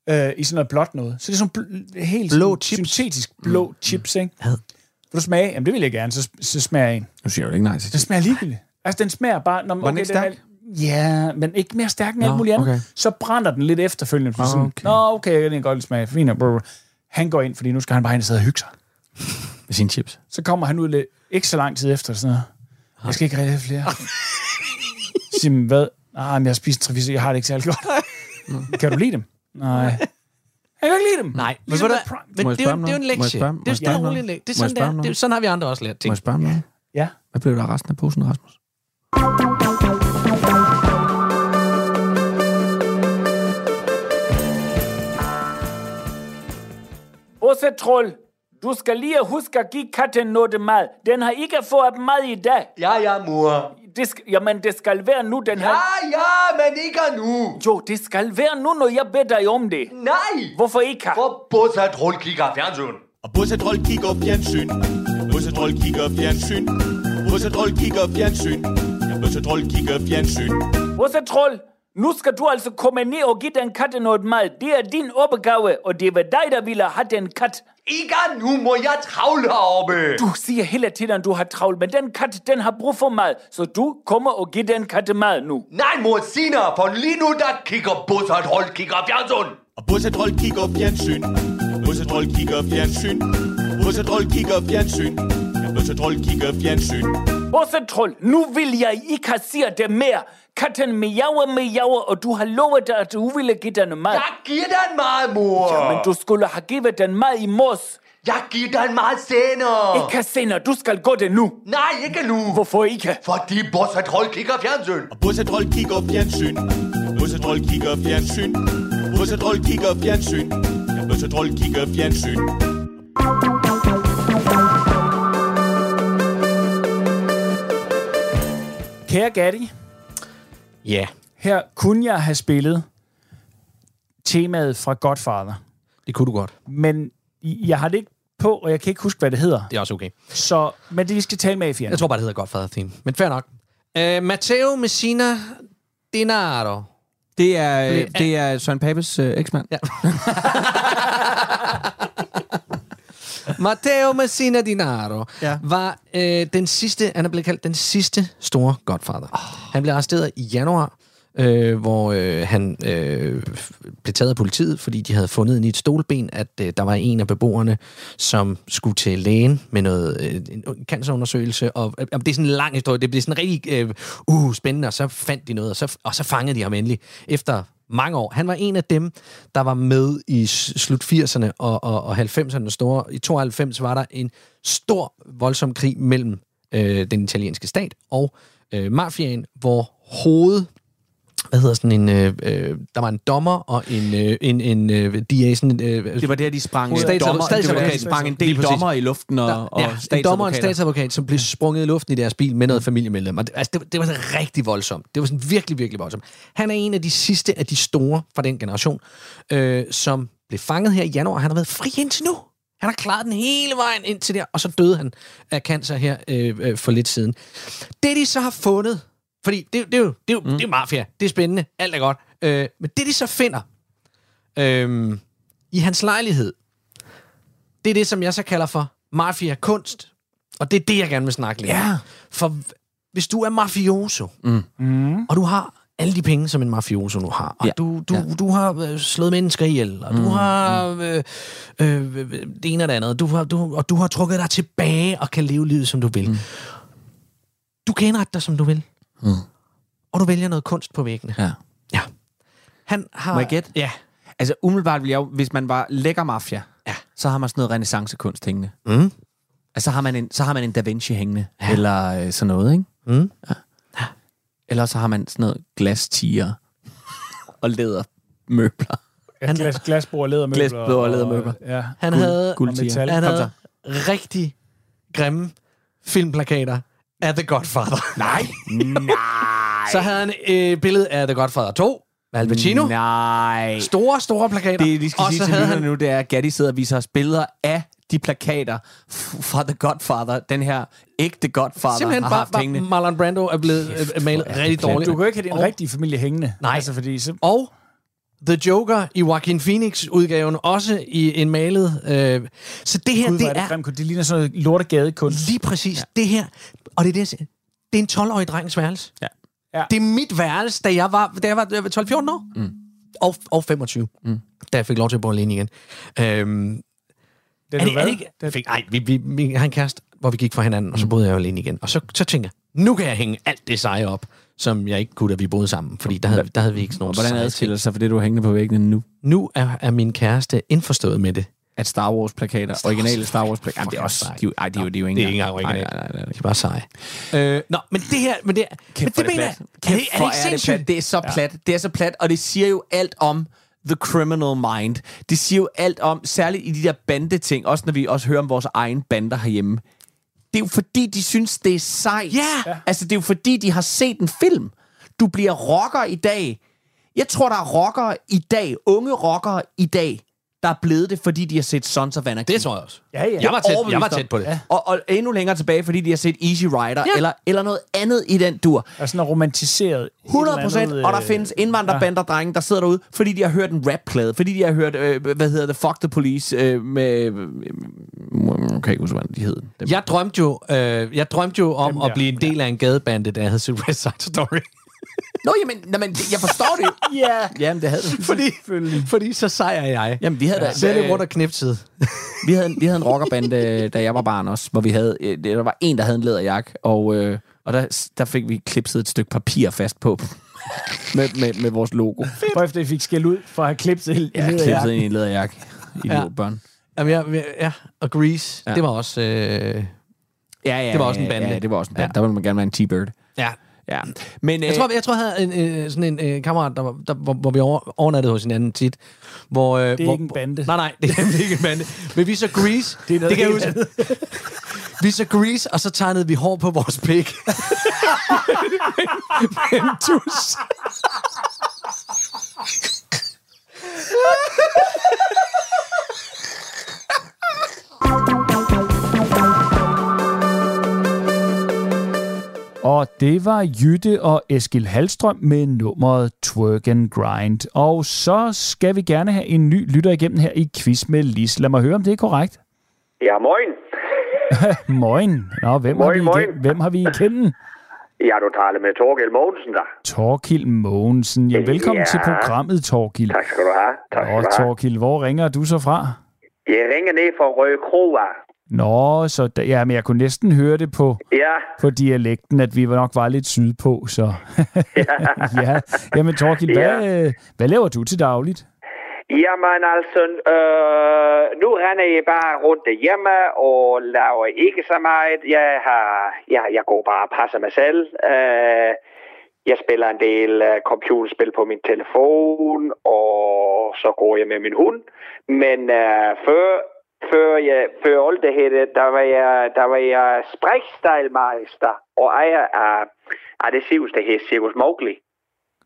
S3: Øh, I sådan noget blåt noget. Så det er sådan bl- helt
S4: Blå
S3: sådan
S4: chips.
S3: syntetisk blå mm. chips, ikke?
S4: Had.
S3: Vil du smage? Jamen, det vil jeg gerne. Så, så smager jeg en.
S5: Nu siger jeg jo ikke nej til
S3: Den
S5: det.
S3: smager ligegyldigt. Altså, den smager bare... Når,
S5: Var den ikke
S3: Er, ja, men ikke mere stærk end alt muligt andet. Okay.
S5: okay.
S3: Så brænder den lidt efterfølgende. For sådan,
S5: okay.
S3: Nå, okay, jeg kan egentlig godt lide smage. Fint, og brr. han går ind, fordi nu skal han bare ind og sidde og hygge sig.
S5: Med sine chips.
S3: Så kommer han ud lidt, ikke så lang tid efter. Sådan noget. Jeg skal ikke rigtig have flere. Så Siger, man, hvad? Nej, men jeg har spist tre fire, jeg har det ikke særlig godt.
S5: *laughs*
S3: kan du lide dem? Nej. Jeg kan ikke lide dem.
S4: Nej, men,
S3: Ligesom
S4: ved du
S3: med
S4: hvad?
S3: Prime.
S4: men
S5: Må
S4: det,
S5: jeg
S4: er jo,
S5: spørge om
S4: det er jo en
S5: noget? Må jeg
S4: lektie. Det er
S5: spørge om- må jeg
S4: jo stille og
S5: spørge om
S4: roligt
S5: Må jeg spørge om
S4: en lektie. Det er sådan, der. Det er,
S5: noget?
S4: sådan har vi andre også lært
S5: Må
S4: ting.
S5: jeg spørge om noget?
S3: Ja.
S5: Hvad blev der af resten af posen, Rasmus?
S6: Åse Troll, du skal lige huske at give katten noget mad. Den har ikke fået mad i dag.
S8: Ja, ja, mor.
S6: Det sk- jamen, det skal være nu, den her...
S8: Ja, ja, men ikke nu.
S6: Jo, det skal være nu, når jeg beder dig om det.
S8: Nej,
S6: Hvorfor ikke?
S8: hvor Bossa Troll kigger fjernsyn.
S9: Og Bosse Troll kigger fjernsyn. Bosse Troll kigger fjernsyn. Bosse Troll kigger fjernsyn. Bosse Troll kigger fjernsyn.
S6: Åse Troll, nu skal du altså komme ned og give den katte noget mad. Det er din opgave, og det var dig, der ville have den kat.
S8: Ikke nu, må jeg travle heroppe.
S6: Du siger hele tiden, du har travlt, men den kat, den har brug for mad. Så du kommer og giver den katte mad nu.
S8: Nej, mor, senere, for lige nu, der kigger Bossa Troll kigger fjernsyn.
S9: Og Bosse Troll kigger fjernsyn. Bosse Troll kigger fjernsyn. Bosse Troll kigger fjernsyn. Bosse Troll kigger fjernsyn.
S6: Åse Troll, nu vil jeg ikke have siger det mere. Katten miaver, miaver, og du har lovet, at du ville give den mad.
S8: Jeg giver dig meget, mor.
S6: Men du skulle have givet den mad i mos.
S8: Jeg giver dig meget senere.
S6: Ikke senere, du skal gå det nu.
S8: Nej, ikke nu.
S6: Hvorfor ikke?
S8: Fordi Bossa Troll kigger fjernsyn.
S9: Og Bosse Troll kigger fjernsyn. Bosse Troll kigger fjernsyn. Bosse Troll kigger fjernsyn. Bosse Troll kigger fjernsyn.
S3: Kære Gatti,
S4: Ja,
S3: her kunne jeg have spillet temaet fra Godfather.
S4: det kunne du godt.
S3: men jeg har det ikke på, og jeg kan ikke huske, hvad det hedder.
S4: Det er også okay.
S3: Så, men det, vi skal tale med mafiaen.
S4: Jeg tror bare, det hedder Godfather Theme. Men fair nok. Uh, Matteo Messina Denaro.
S5: Det er, øh, det er Søren Papes øh, eksmand. Ja.
S4: Matteo Messina Denaro ja.
S5: Ja.
S4: var øh, den sidste, han er blevet kaldt den sidste store Godfather. Oh. Han blev arresteret i januar, øh, hvor øh, han øh, f- blev taget af politiet, fordi de havde fundet i et stolben, at øh, der var en af beboerne, som skulle til lægen med noget øh, en cancerundersøgelse. Og, øh, det er sådan en lang historie, det blev sådan rigtig øh, uh, spændende, og så fandt de noget, og så, og så fangede de ham endelig efter mange år. Han var en af dem, der var med i s- slut 80'erne og, og, og 90'erne store. I 92 var der en stor, voldsom krig mellem øh, den italienske stat og øh, mafiaen, hvor hoved hvad hedder sådan en, øh, øh, der var en dommer og en, øh, en, en øh, DA, sådan, øh,
S5: Det var der, de sprang, øh, dommer,
S4: Statsadvokat-
S5: det var der, de
S4: statsadvokat-
S5: sprang en
S4: Lige
S5: del
S4: præcis.
S5: dommer i luften og, og
S4: ja, en dommer og
S5: statsadvokater.
S4: en statsadvokat, som blev sprunget i luften i deres bil med noget familiemedlem. Og det, altså, det, det var sådan rigtig voldsomt. Det var sådan virkelig, virkelig voldsomt. Han er en af de sidste af de store fra den generation, øh, som blev fanget her i januar. Han har været fri indtil nu. Han har klaret den hele vejen indtil der, og så døde han af cancer her øh, øh, for lidt siden. Det, de så har fundet, fordi det, det er jo, det er jo, mm. det er jo mafia, det er spændende, alt er godt, øh, men det, de så finder øh, i hans lejlighed, det er det, som jeg så kalder for mafia-kunst. Og det er det, jeg gerne vil snakke lidt ja. For v- hvis du er mafioso, mm. og du har alle de penge, som en mafioso nu har, og ja.
S5: Ja.
S4: du, du, ja. du har øh, slået mennesker ihjel, og mm. du har øh, øh, øh, det ene og det andet, du har, du, og du har trukket dig tilbage og kan leve livet, som du vil. Mm. Du kan indrette dig, som du vil. Mm. Og du vælger noget kunst på væggene.
S5: Ja.
S4: ja. Han har...
S5: Må jeg gætte?
S4: Ja.
S5: Altså umiddelbart vil jeg jo, hvis man var lækker mafia, ja. så har man sådan noget renaissancekunst hængende. Mm. Altså, så har, man en, så har man en Da Vinci hængende, ja. eller øh, sådan noget, ikke? Mm. Ja. Eller så har man sådan noget glastiger og lædermøbler.
S3: Han, glas, glasbord, lædermøbler.
S5: Glasbord og lædermøbler.
S3: Ja.
S4: Han
S5: Guld-
S4: havde,
S5: guldtiger.
S3: metal.
S4: han
S5: Kom
S4: havde rigtig grimme filmplakater af The
S5: *laughs*
S4: Godfather. Nej.
S5: Nej.
S4: Så havde han et øh, billede af The Godfather 2 med Al Pacino.
S5: Nej.
S4: Store, store plakater.
S5: Det, de skal
S4: og
S5: sige
S4: så
S5: til
S4: havde
S5: lytterne
S4: han
S5: nu, det er, at Gatti sidder og viser os billeder af de plakater f- fra The Godfather. Den her ægte Godfather
S4: simpelthen
S5: har
S4: bare,
S5: haft
S4: bare
S5: hængende.
S4: Marlon Brando er blevet øh, malet rigtig dårligt.
S3: Du kan jo ikke have din
S4: Og-
S3: rigtige familie hængende.
S4: Nej.
S3: Altså, fordi så,
S4: Og The Joker i Joaquin Phoenix-udgaven, også i en malet... Øh. Så det her,
S3: Gud,
S4: det
S3: det,
S4: er
S3: det, grimt. det ligner sådan noget lortegadekunst.
S4: lige præcis ja. det her. Og det er det, jeg siger. det er en 12-årig drengs værelse.
S5: Ja.
S3: Ja.
S4: Det er mit værelse, da jeg var, da jeg var 12-14 år. Mm. Og, og 25, mm. da jeg fik lov til at bo alene igen. Øhm,
S3: Den
S4: er det,
S3: hvad?
S4: er det ikke?
S3: Den,
S4: fik, nej, vi, vi, vi havde en kæreste, hvor vi gik fra hinanden,
S5: Mm.
S4: og så boede jeg jo alene igen. Og så, så tænker jeg, nu kan jeg hænge alt det seje op, som jeg ikke kunne, da vi boede sammen. Fordi der havde, der havde vi ikke sådan nogle
S5: Hvordan
S4: seje
S5: adskiller det sig for det, du har hængende på væggene nu?
S4: ting. Nu er, er min kæreste indforstået med det.
S5: At Star Wars-plakater, originale Star Wars-plakater, Jamen, det er også...
S4: Fucking
S5: De, ej, de, er jo- de er jo
S4: Det er
S5: ikke
S4: ikke engang
S5: Nej,
S4: originalt.
S5: nej, nej, nej.
S4: Det er bare seje. Øh, nå, men det her... Men det, men
S5: for
S4: det mener jeg...
S5: plat.
S4: Er det, er det
S5: Hvor
S4: ikke
S5: er det,
S4: sindssygt?
S5: plat. det er så plat. Det er så plat, og det siger jo alt om the criminal mind. Det siger jo alt om, særligt i de der bandeting, også når vi også hører om vores egen bander herhjemme. Det er jo fordi, de synes, det er sejt.
S4: Ja. Ja.
S5: Altså, det er jo fordi, de har set en film. Du bliver rocker i dag. Jeg tror, der er rockere i dag, unge rockere i dag, der er blevet det, fordi de har set Sons of Anarchy.
S4: Det tror jeg også.
S3: ja, ja.
S4: Jeg var tæt, jeg var
S5: overbevist om.
S4: tæt på det. Ja.
S5: Og, og endnu længere tilbage, fordi de har set Easy Rider, ja. eller, eller noget andet i den dur.
S3: Og sådan noget romantiseret. et eller
S5: 100
S3: andet,
S5: procent, og der
S3: øh,
S5: findes indvandrerbanderdrenge, der sidder derude, fordi de har hørt en rapplade, fordi de har hørt, øh, hvad hedder det, Fuck the Police, øh, med... Jeg kan ikke huske, hvordan de hed. Dem.
S4: Jeg drømte jo, øh, jeg drømte jo om
S3: Dem
S4: Dem,
S3: der.
S4: at blive en del af en gadebande, da jeg havde set West Side
S3: *laughs*
S4: Story.
S5: Nå, jamen, jamen, det- jeg forstår det jo.
S3: Ja.
S5: Jamen, det havde det.
S4: fordi, fordi så sejrer jeg.
S5: Jamen, vi havde da...
S4: Så er det
S5: øh,
S4: rundt og knipsede.
S5: *laughs* vi havde, en- vi havde en rockerband, øh, da jeg var barn også, hvor vi havde, øh, der var en, der havde en læderjakke, og, øh, og der, der fik vi klipset et stykke papir fast på *laughs* med, med, med vores logo.
S3: Prøv efter, I fik skæld ud for at have klipset en ja,
S5: Klipset ind i en læderjakke. Idiotbørn.
S4: Jamen, jeg, jeg, ja, og Grease, ja. det var også... Øh,
S5: Ja, ja,
S4: Det var også
S5: ja,
S4: en bande.
S5: Ja, det var også en bande. Ja. Der ville man gerne være en T-bird.
S4: ja.
S5: Ja. Men,
S4: Jeg tror, jeg, tror, jeg havde en, øh, sådan en øh, kammerat, der, var- der, hvor, hvor vi over, overnattede hos hinanden tit. Hvor, øh, det
S3: er
S4: hvor,
S3: ikke en bande.
S4: Nej, *laughs* nej, det er nemlig ikke en bande. Men vi så Grease.
S3: Det er noget
S4: det kan jeg
S3: helt
S4: huske. *laughs* Vi så Grease, og så tegnede vi hår på vores pik. med en tus.
S3: Og det var Jytte og Eskil Halstrøm med nummeret Twerk and Grind. Og så skal vi gerne have en ny lytter igennem her i Quiz med Lis. Lad mig høre, om det er korrekt.
S6: Ja, moin.
S3: *laughs* Moin. Nå, hvem,
S6: Moin,
S3: har, vi
S6: moin.
S3: igen, hvem har vi igennem?
S6: Ja, du taler med Torgel Mogensen der.
S3: Torkild Mogensen. Ja, velkommen ja.
S6: Ja.
S3: til programmet, Torkild.
S6: Tak skal du have. Tak skal
S3: Og
S6: du have.
S3: Torkild, hvor ringer du så fra?
S6: Jeg ringer ned fra Røde Kroa.
S3: Nå, så da, ja, men jeg kunne næsten høre det på,
S6: Ja,
S3: på dialekten, at vi nok var lidt sydpå, så... *laughs* ja. Jamen, Torkild, ja. hvad, øh, hvad laver du til dagligt?
S6: jamen altså, øh, nu render jeg bare rundt derhjemme og laver ikke så meget. Jeg, har, ja, jeg går bare og passer mig selv. Øh, jeg spiller en del øh, computerspil på min telefon, og så går jeg med min hund. Men øh, før, før, jeg, før alt det her, der var jeg, der var jeg sprækstejlmeister og ejer af, af det cirkus, der hedder Cirkus Mowgli.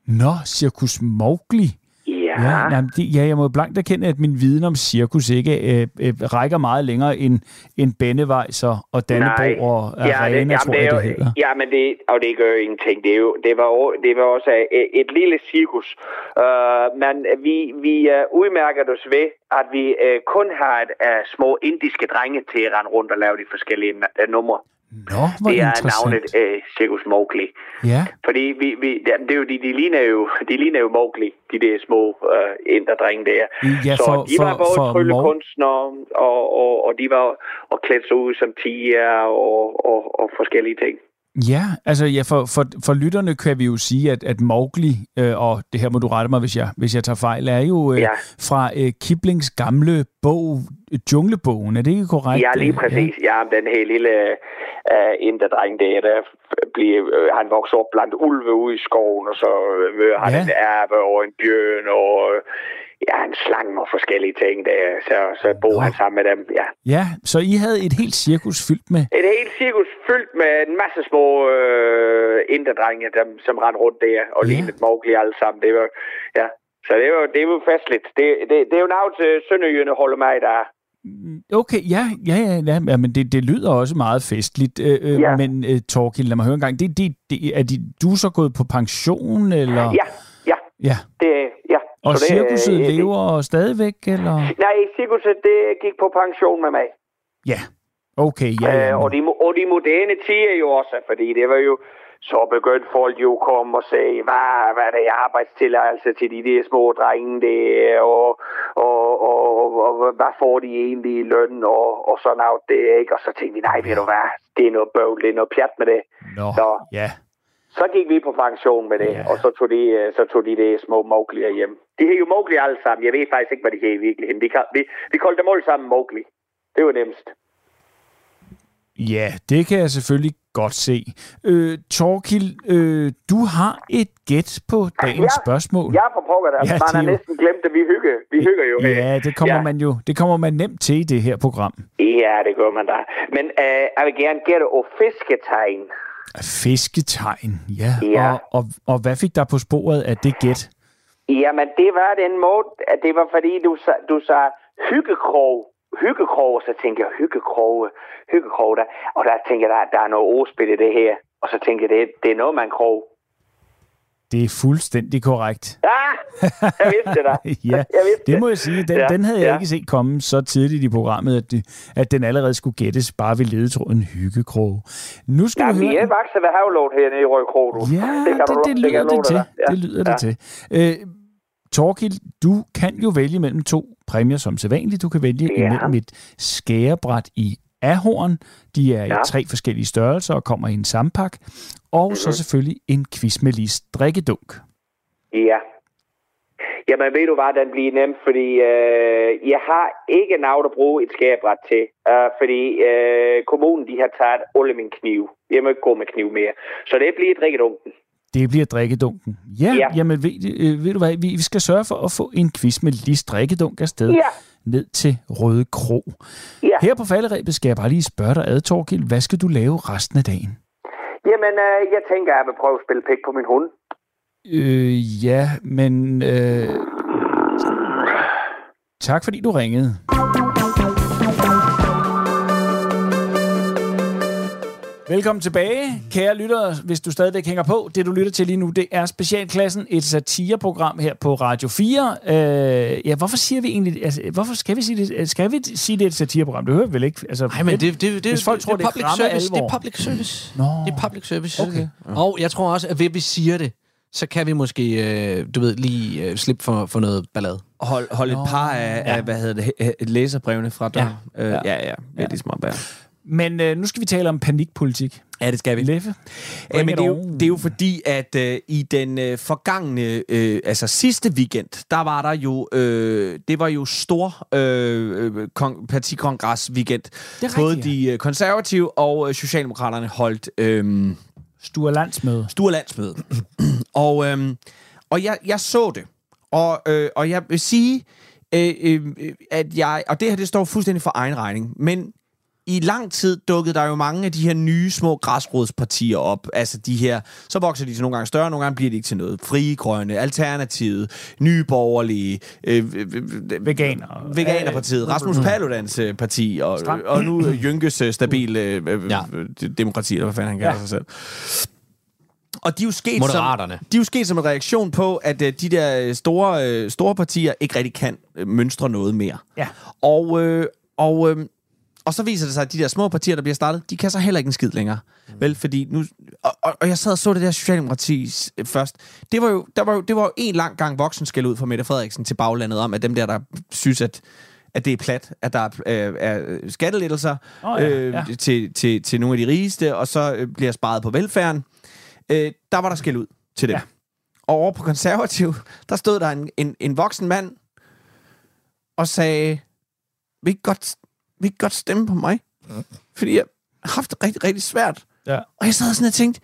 S3: Nå, Cirkus Mowgli.
S6: Ja,
S3: Ja, nej, men det, ja, jeg må blankt erkende, at min viden om cirkus ikke øh, øh, rækker meget længere end, end Bennevejser og Dannebro og Arena, ja, det, tror jeg,
S6: er
S3: det,
S6: jo,
S3: det hedder.
S6: Ja, men det, og det gør ingenting. Det, er jo, det, var, jo- det var også øh, et, et lille cirkus. Uh, men vi, vi uh, udmærker os ved, at vi uh, kun har et, uh, små indiske drenge til at rende rundt og lave de forskellige uh, numre.
S3: Nå, hvor
S6: det er
S3: interessant.
S6: navnet uh, Circus Mowgli.
S3: Ja,
S6: Fordi vi, vi, det, det er jo, de, de, ligner jo, de ligner jo Mowgli, de der små uh, inderdrenge der.
S3: ja
S6: Så
S3: for,
S6: de var
S3: for,
S6: både
S3: for, Mog-
S6: tryllekunstnere, og, og, og de var og klædt sig ud som tiger og, og, og forskellige ting.
S3: Ja, altså ja, for, for, for lytterne kan vi jo sige, at, at Mowgli, øh, og det her må du rette mig, hvis jeg, hvis jeg tager fejl, er jo øh,
S6: Ja.
S3: fra øh, Kiplings gamle bog, øh, Junglebogen. Er det ikke korrekt?
S6: Ja, lige præcis. Ja, om den her lille uh, inderdreng der, der blev, øh, han voksede op blandt ulve ude i skoven, og så øh, møder han
S3: Ja.
S6: en ærve og en bjørn og øh, ja, en slange og forskellige ting der. Så, så bor han sammen med dem, ja.
S3: Ja. ja, så I havde et helt cirkus fyldt med...
S6: Et helt cirkus fyldt med en masse små øh, inderdrenge, dem, som rendte rundt der og
S3: Ja.
S6: lignede Mowgli alle sammen. Det var, ja. Så det var, det var festligt. Det, det, det er jo noget, øh, sønderjyderne holder mig der.
S3: Okay, ja, ja, ja, ja, ja men det, det lyder også meget festligt. Øh, øh,
S6: Ja.
S3: Men øh, Torkild, lad mig høre en gang. Det, det, det, er de, du er så gået på pension, eller?
S6: Ja, ja.
S3: ja.
S6: Det, ja.
S3: Ah. Og
S6: Så det, øh,
S3: cirkuset
S6: det-
S3: lever stadigvæk, eller?
S6: Nej, cirkuset, det gik på pension med mig.
S3: Ja. Okay, ja. ja,
S6: Øh, og,
S3: men-
S6: de, mo- og de moderne tider jo også, fordi det var jo... Så begyndte folk jo at komme og sige, hvad, hvad er det arbejdstilladelse til de der små drenge der, og, og, og, og, og hvad får de egentlig i løn, og, og sådan noget det, ikke? Og så tænkte vi, nej, ved du hvad, det er noget bøvl, det er noget pjat med det.
S3: Nå,
S6: Nå.
S3: ja.
S6: Så gik vi på pension med det, og så tog de, øh, så tog de det små Mowgli'er hjem. De hed jo Mowgli alle sammen. Jeg ved faktisk ikke, hvad de hed i virkeligheden. Vi, kal- vi, vi kaldte dem alle sammen Mowgli. Det var nemmest.
S3: Ja, det kan jeg selvfølgelig godt se. Øh, Torkild, øh, du har et gæt på dagens
S6: Ja.
S3: spørgsmål.
S6: Ja, for pokker da.
S3: Ja,
S6: Ja,
S3: det
S6: Man
S3: er
S6: har
S3: jo-
S6: næsten glemt, at vi hygge. Vi hygger jo.
S3: Ja, det kommer
S6: Ja.
S3: man jo det kommer man nemt til i det her program.
S6: Ja, det gør man da. Men øh, jeg vil gerne gætte på fisketegn.
S3: Fisketegn, ja.
S6: Ja.
S3: Og, og, og hvad fik der på sporet af det gæt?
S6: Jamen, det var den måde, at det var fordi, du, sa- du sagde hyggekrog. Hyggekrog, så tænkte jeg, hyggekrog, hyggekrog der. Og der tænker jeg, der, der er noget ordspil i det her. Og så tænker jeg, det, det er noget, man krog.
S3: Det er fuldstændig korrekt.
S6: Ah, jeg vidste det da.
S3: *laughs* ja,
S6: jeg vidste
S3: det må jeg sige. Den, ja,
S6: Ja,
S3: den havde jeg
S6: ja.
S3: ikke set komme så tidligt i programmet, at, det, at den allerede skulle gættes bare ved ledetråden hyggekrog. Nu skal
S6: Jamen,
S3: du høre...
S6: vi er vokset ved havlåt her nede i Røde Kro, du.
S3: Ja, det,
S6: kan
S3: det,
S6: du
S3: det,
S6: lo-
S3: det lyder
S6: kan jeg
S3: det,
S6: love
S3: til.
S6: dig da. Ja,
S3: Det lyder
S6: ja.
S3: det til. Øh, Torkild, du kan jo vælge mellem to præmier som sædvanligt. Du kan vælge
S6: Ja.
S3: imellem et skærebræt i ahorn. De er i tre forskellige størrelser og kommer i en sampak. Og
S6: Mm-hmm.
S3: så selvfølgelig en quiz med Lis drikkedunk.
S6: Ja. Jamen, ved du hvad, den bliver nem, fordi øh, jeg har ikke navn at bruge et skabret til, øh, fordi øh, kommunen de har taget alle mine knive. Jeg må ikke gå med kniv mere. Så det bliver et rigtigt unken.
S3: Det bliver drikkedunken. Ja, ja.
S6: Ja.
S3: jamen ved, øh, ved du hvad, vi, vi skal sørge for at få en quiz med Lis drikkedunk afsted
S6: Ja.
S3: ned til Røde Kro.
S6: Ja.
S3: Her på falderæbet skal jeg bare lige spørge dig ad, Torkild, hvad skal du lave resten af dagen?
S6: Jamen, øh, jeg tænker, at jeg vil prøve at spille pik på min hund.
S3: Øh, ja, men... Øh... Tak fordi du ringede. Velkommen tilbage, kære lyttere, hvis du stadigvæk hænger på. Det, du lytter til lige nu, det er Specialklassen, et satireprogram her på Radio 4. Øh, ja, hvorfor siger vi egentlig... Altså, hvorfor skal vi sige det? Skal vi sige, det er et satireprogram? Det hører vi vel ikke? Altså,
S4: Nej, men det, det, det,
S3: hvis folk
S4: det,
S3: tror,
S4: det,
S3: det
S4: er
S3: er
S4: public
S3: ramme
S4: service. Det
S3: alvor.
S4: er public service.
S3: Nå.
S4: Det er public service.
S3: Okay.
S4: Og jeg tror også, at ved at vi siger det, så kan vi måske, øh, du ved, lige øh, slippe for, for noget ballade.
S5: Hold, hold et par af, ja. af, hvad hedder det, he- he- læserbrevene fra døren. Ja, øh, ja, ja. ja. Det er ligesom at være.
S3: Men øh, nu skal vi tale om panikpolitik.
S5: Ja, det skal vi.
S3: Leffe?
S5: Ja, men det er, jo,
S3: bring it on.
S5: det er jo fordi, at øh, i den øh, forgangne, øh, altså sidste weekend, der var der jo, øh, det var jo stor øh, øh, kon- partikongres-weekend.
S3: rigtigt,
S5: Både
S3: ja.
S5: de øh, konservative og øh, Socialdemokraterne holdt... Øh,
S3: Sture landsmøde.
S5: Sture landsmøde. *clears throat* og øhm, og jeg, jeg så det. Og, øh, og jeg vil sige, øh, øh, øh, at jeg... Og det her, det står fuldstændig for egen regning. Men i lang tid dukkede der jo mange af de her nye små græsrodspartier op. Altså de her, så vokser de til nogle gange større, nogle gange bliver de ikke til noget. Frie Grønne, Alternativet, Nye Borgerlige, øh, øh, øh,
S3: Veganer.
S5: Veganerpartiet, Rasmus
S4: Mm.
S5: Paludans øh, parti, og, og nu øh, Jynkes øh, stabile øh, øh,
S4: Ja.
S5: øh, demokrati, eller hvad fanden han kalder sig selv. Og de er jo sket
S4: Moderaterne.
S5: Som, de er jo sket som en reaktion på, at øh, de der øh, store, øh, store partier ikke rigtig kan øh, mønstre noget mere.
S3: Ja.
S5: Og, øh, og, øh, og så viser det sig, at de der små partier, der bliver startet, de kan så heller ikke en skid længere. Vel, fordi nu... Og, og, og jeg sad og så det der Socialdemokrati øh, først. Det var jo, der var jo, det var jo en lang gang voksen skæld ud fra Mette Frederiksen til baglandet om, at dem der, der synes, at at det er plat, at der er, øh, er skattelettelser
S3: Åh, ja,
S5: øh,
S3: ja.
S5: Til, til, til nogle af de rigeste, og så øh, bliver sparet på velfærden. Øh, der var der skæld ud til dem.
S3: Ja.
S5: Ja. Og over på konservativ, der stod der en, en, en voksen mand og sagde, vil I ikke godt, vil I ikke godt stemme på mig? Fordi jeg har haft det rigtig, rigtig svært.
S3: Ja.
S5: Og jeg sad sådan og tænkte,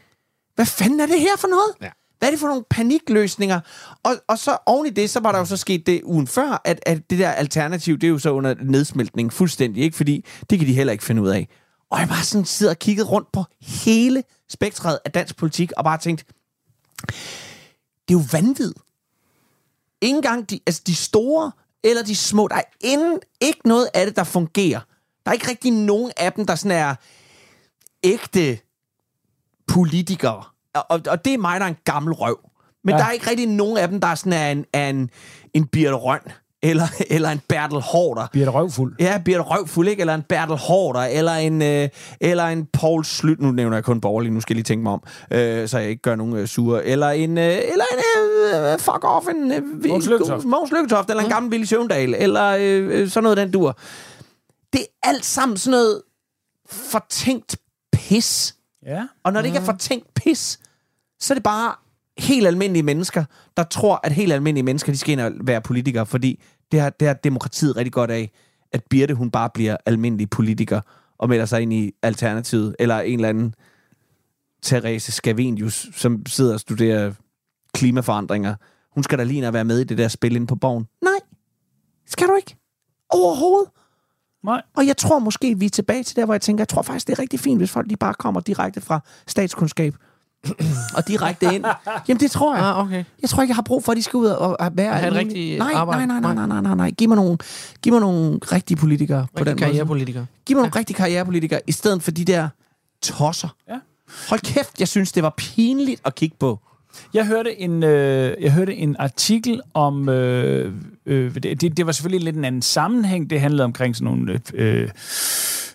S5: hvad fanden er det her for noget?
S4: Ja.
S5: Hvad er det for nogle panikløsninger? Og, og så oven i det, så var der jo så sket det ugen før, at, at det der alternativ, det er jo så under nedsmeltning fuldstændig, ikke? Fordi det kan de heller ikke finde ud af. Og jeg bare sådan sidder og kigget rundt på hele spektret af dansk politik, og bare tænkt, det er jo vanvid. Ikke engang de, altså de store eller de små, der er inden, ikke noget af det, der fungerer. Der er ikke rigtig nogen af dem, der sådan er ægte politikere. Og, og, og det er mig, der er en gammel røv. Men
S3: Ja.
S5: ja. der er ikke rigtig nogen af dem, der er sådan er en, er en, en Birte Røn, eller, *laughs* eller en Bertel Hårder.
S3: Bliver det røvfuld?
S5: Ja, Birte Røvfuld, ikke? Eller en Bertel Hårder, eller en, øh, eller en Paul Slyt. Nu nævner jeg kun borgerlig, nu skal jeg lige tænke mig om, øh, så jeg ikke gør nogen øh, sure. Eller en, øh, eller en øh, øh, fuck off, en øh, vi-
S3: Mogens Lykketoft.
S5: Mogens Lykketoft,
S4: Mm.
S5: eller en gammel Billy Søvndal, eller øh, øh, sådan noget, den dur. Det er alt sammen sådan noget fortænkt pis.
S3: Ja.
S5: Og når det ikke er fortænkt pis, så er det bare helt almindelige mennesker, der tror, at helt almindelige mennesker, de skal ind og være politikere, fordi det har, det har demokratiet rigtig godt af, at Birte, hun bare bliver almindelig politiker og melder sig ind i Alternativet, eller en eller anden Therese Scavenius, som sidder og studerer klimaforandringer. Hun skal da lige ind og være med i det der spil inde på borgen. Nej, skal du ikke. Overhovedet.
S3: Nej.
S5: Og jeg tror måske, vi er tilbage til der, hvor jeg tænker, jeg tror faktisk, det er rigtig fint, hvis folk de bare kommer direkte fra statskundskab og direkte ind. Jamen, det tror jeg.
S4: Ah, okay.
S5: Jeg tror ikke, jeg har brug for, at de skal ud og og være...
S4: At have et
S5: alene.
S4: rigtigt
S5: nej,
S4: arbejde.
S5: Nej, nej, nej, nej, nej, nej. Giv mig nogle, giv mig nogle rigtige politikere på
S4: Rigtig
S5: den måde.
S4: karrierepolitiker.
S5: Giv mig nogle rigtige karrierepolitikere, i stedet for de der tosser.
S3: Ja.
S5: Hold kæft, jeg synes, det var pinligt at kigge på.
S3: Jeg hørte en, øh, jeg hørte en artikel om... Øh, øh, det, det det var selvfølgelig lidt en anden sammenhæng. Det handlede omkring sådan nogle øh,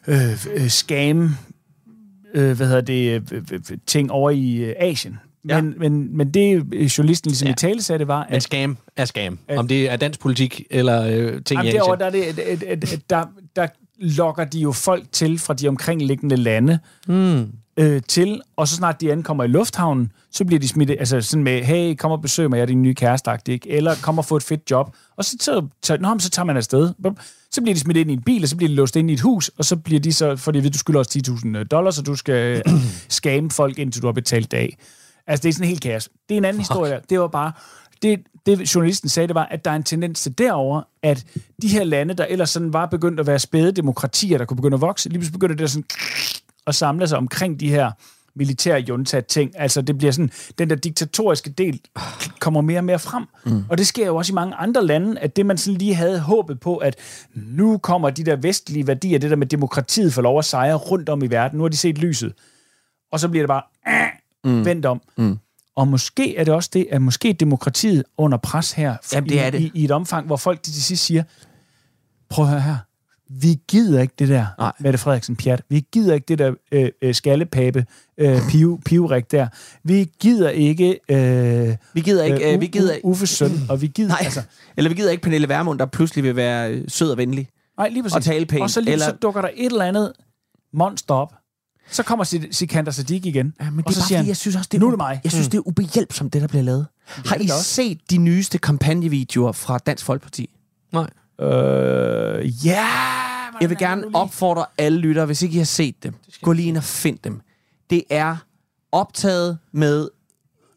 S3: øh, øh, scam... Øh, hvad hedder det? Øh, øh, øh, ting over i øh, Asien. Ja.
S4: Ja.
S3: Men, men, men det øh, journalisten ligesom ja. i tale sagde, det var,
S4: Men
S3: at
S4: scam er scam. Om det er dansk politik eller øh, ting i
S3: Jamen,
S4: Asien.
S3: derovre, der, er det, et, et, et, et, der, der lokker de jo folk til fra de omkringliggende lande mm. øh, til, og så snart de ankommer i lufthavnen, så bliver de smidt, altså sådan med, hey, kom og besøg mig, jeg er din nye kæreste, ikke? eller kom og få et fedt job, og så, tager, tager, nå, men så tager man afsted. Bum. Så bliver de smidt ind i en bil, og så bliver de låst ind i et hus, og så bliver de så, fordi du skylder os 10.000 dollars, og du skal *clears throat* øh, skamme folk, indtil du har betalt det af. Altså, det er sådan helt kaos. Det er en anden Fuck. historie. Det var bare... Det, det, journalisten sagde, det var, at der er en tendens til derover, at de her lande, der ellers sådan var begyndt at være spæde demokratier, der kunne begynde at vokse, lige pludselig begynder det at sådan at samle sig omkring de her militære junta-ting. Altså, det bliver sådan, den der diktatoriske del kommer mere og mere frem. Mm. Og det sker jo også i mange andre lande, at det, man sådan lige havde håbet på, at nu kommer de der vestlige værdier, det der med demokratiet, for lov at sejre rundt om i verden. Nu har de set lyset. Og så bliver det bare øh, mm. vendt om. Mm. Og måske er det også det, at måske er demokratiet under pres her,
S5: Jamen, det
S3: i,
S5: er det.
S3: I, i et omfang, hvor folk til sidst siger, prøv at høre her, vi gider ikke det der, Nej.
S5: Nej.
S3: Mette Frederiksen pjat. Vi gider ikke det der øh, øh, skallepape, øh, piv, pivrik der. Vi gider ikke... Øh,
S5: Vi gider ikke... Øh,
S3: U-
S5: vi gider,
S3: U- Uffes søn, og vi gider...
S5: nej, altså. eller vi gider ikke Pernille Vermund, der pludselig vil være øh, sød og venlig.
S3: nej, lige præcis.
S5: og tale pænt,
S3: Og så, lige, eller...
S5: eller-
S3: så dukker der et eller andet monster op. Så kommer Sid- Sikander Sadiq igen.
S5: Ja, men det
S3: og
S5: er
S3: så siger
S5: bare, fordi
S3: han,
S5: jeg synes også, det er,
S3: nu er
S5: u-
S3: det mig.
S5: Jeg synes, det er ubehjælpsomt, det der bliver lavet. Har
S3: det
S5: I
S3: da også.
S5: set de nyeste kampagnevideoer fra Dansk Folkeparti?
S4: Nej.
S3: Øh, ja! hvordan
S5: Jeg vil
S3: er det
S5: gerne
S3: nu lige?
S5: opfordre alle lyttere, hvis ikke I har set dem, gå lige ind og find dem. Det er optaget med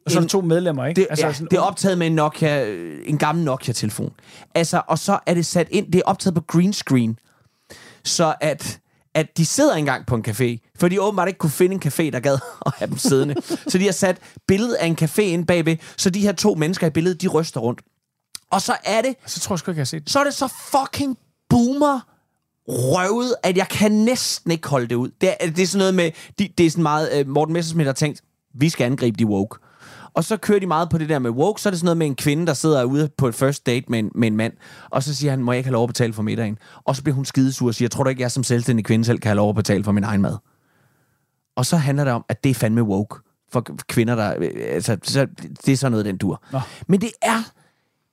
S3: Og så er der
S5: en-
S3: to medlemmer, ikke?
S5: det, altså, ja,
S3: sådan-
S5: det er optaget med en Nokia, øh, en gammel Nokia-telefon. Altså, og så er det sat ind, det er optaget på green screen, så at, at de sidder engang på en café, for de åbenbart ikke kunne finde en café, der gad *laughs* at have dem siddende. så de har sat billedet af en café ind bagved, så de her to mennesker i billedet, de ryster rundt. Og så er det
S3: Så tror jeg sgu ikke, jeg har set det.
S5: så er det så fucking boomer røvet, at jeg kan næsten ikke holde det ud. Det er, det er sådan noget med, de, det er sådan meget, øh, Morten Messerschmidt har tænkt, vi skal angribe de woke. Og så kører de meget på det der med woke, så er det sådan noget med en kvinde, der sidder ude på et first date med en, med en mand, og så siger han, må jeg ikke have lov at betale for middagen? Og så bliver hun skidesur og siger, tror du ikke, jeg som selvstændig kvinde selv kan have lov at betale for min egen mad? Og så handler det om, at det er fandme woke for k- kvinder, der... øh, Altså, så, det er sådan noget, den dur. Nå. Altså, Men det er...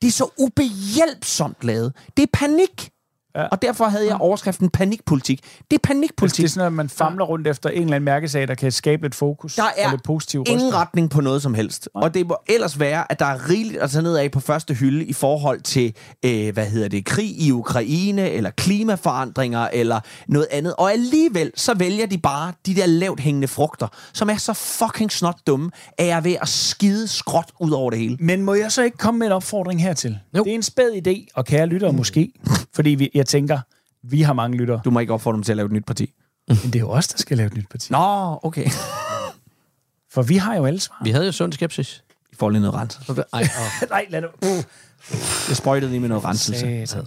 S5: Det er så ubehjælpsomt lavet. Det er panik.
S10: Ja. Og derfor havde jeg overskriften panikpolitik. Det er
S3: Det
S10: panikpolitik.
S3: er sådan, at man famler rundt efter en eller anden mærkesag, der kan skabe lidt fokus
S10: Der er
S3: og lidt positiv
S10: ingen
S3: ryster.
S10: retning på noget som helst. Og det må ellers være, at der er rigeligt at tage ned af på første hylde i forhold til, øh, hvad hedder det, krig i Ukraine, eller klimaforandringer, eller noget andet. Og alligevel, så vælger de bare de der lavt hængende frugter, som er så fucking snot dumme, at jeg er ved at skide skråt ud over det hele.
S3: Men må jeg så ikke komme med en opfordring hertil?
S4: Jo.
S3: Det er en spæd idé, og kære lyttere måske, fordi vi, jeg tænker, vi har mange lyttere,
S10: Du må ikke opfordre dem til at lave et nyt parti.
S3: men det er jo os, der skal lave et nyt parti.
S10: Nå, okay. *laughs*
S3: For vi har jo alle svar.
S4: Vi havde jo sund skepsis.
S10: I får lige noget rens.
S4: Så blev- Ej, åh.
S3: Nej, lad nu.
S10: Jeg sprøjtede lige med noget renselse.
S3: Satan.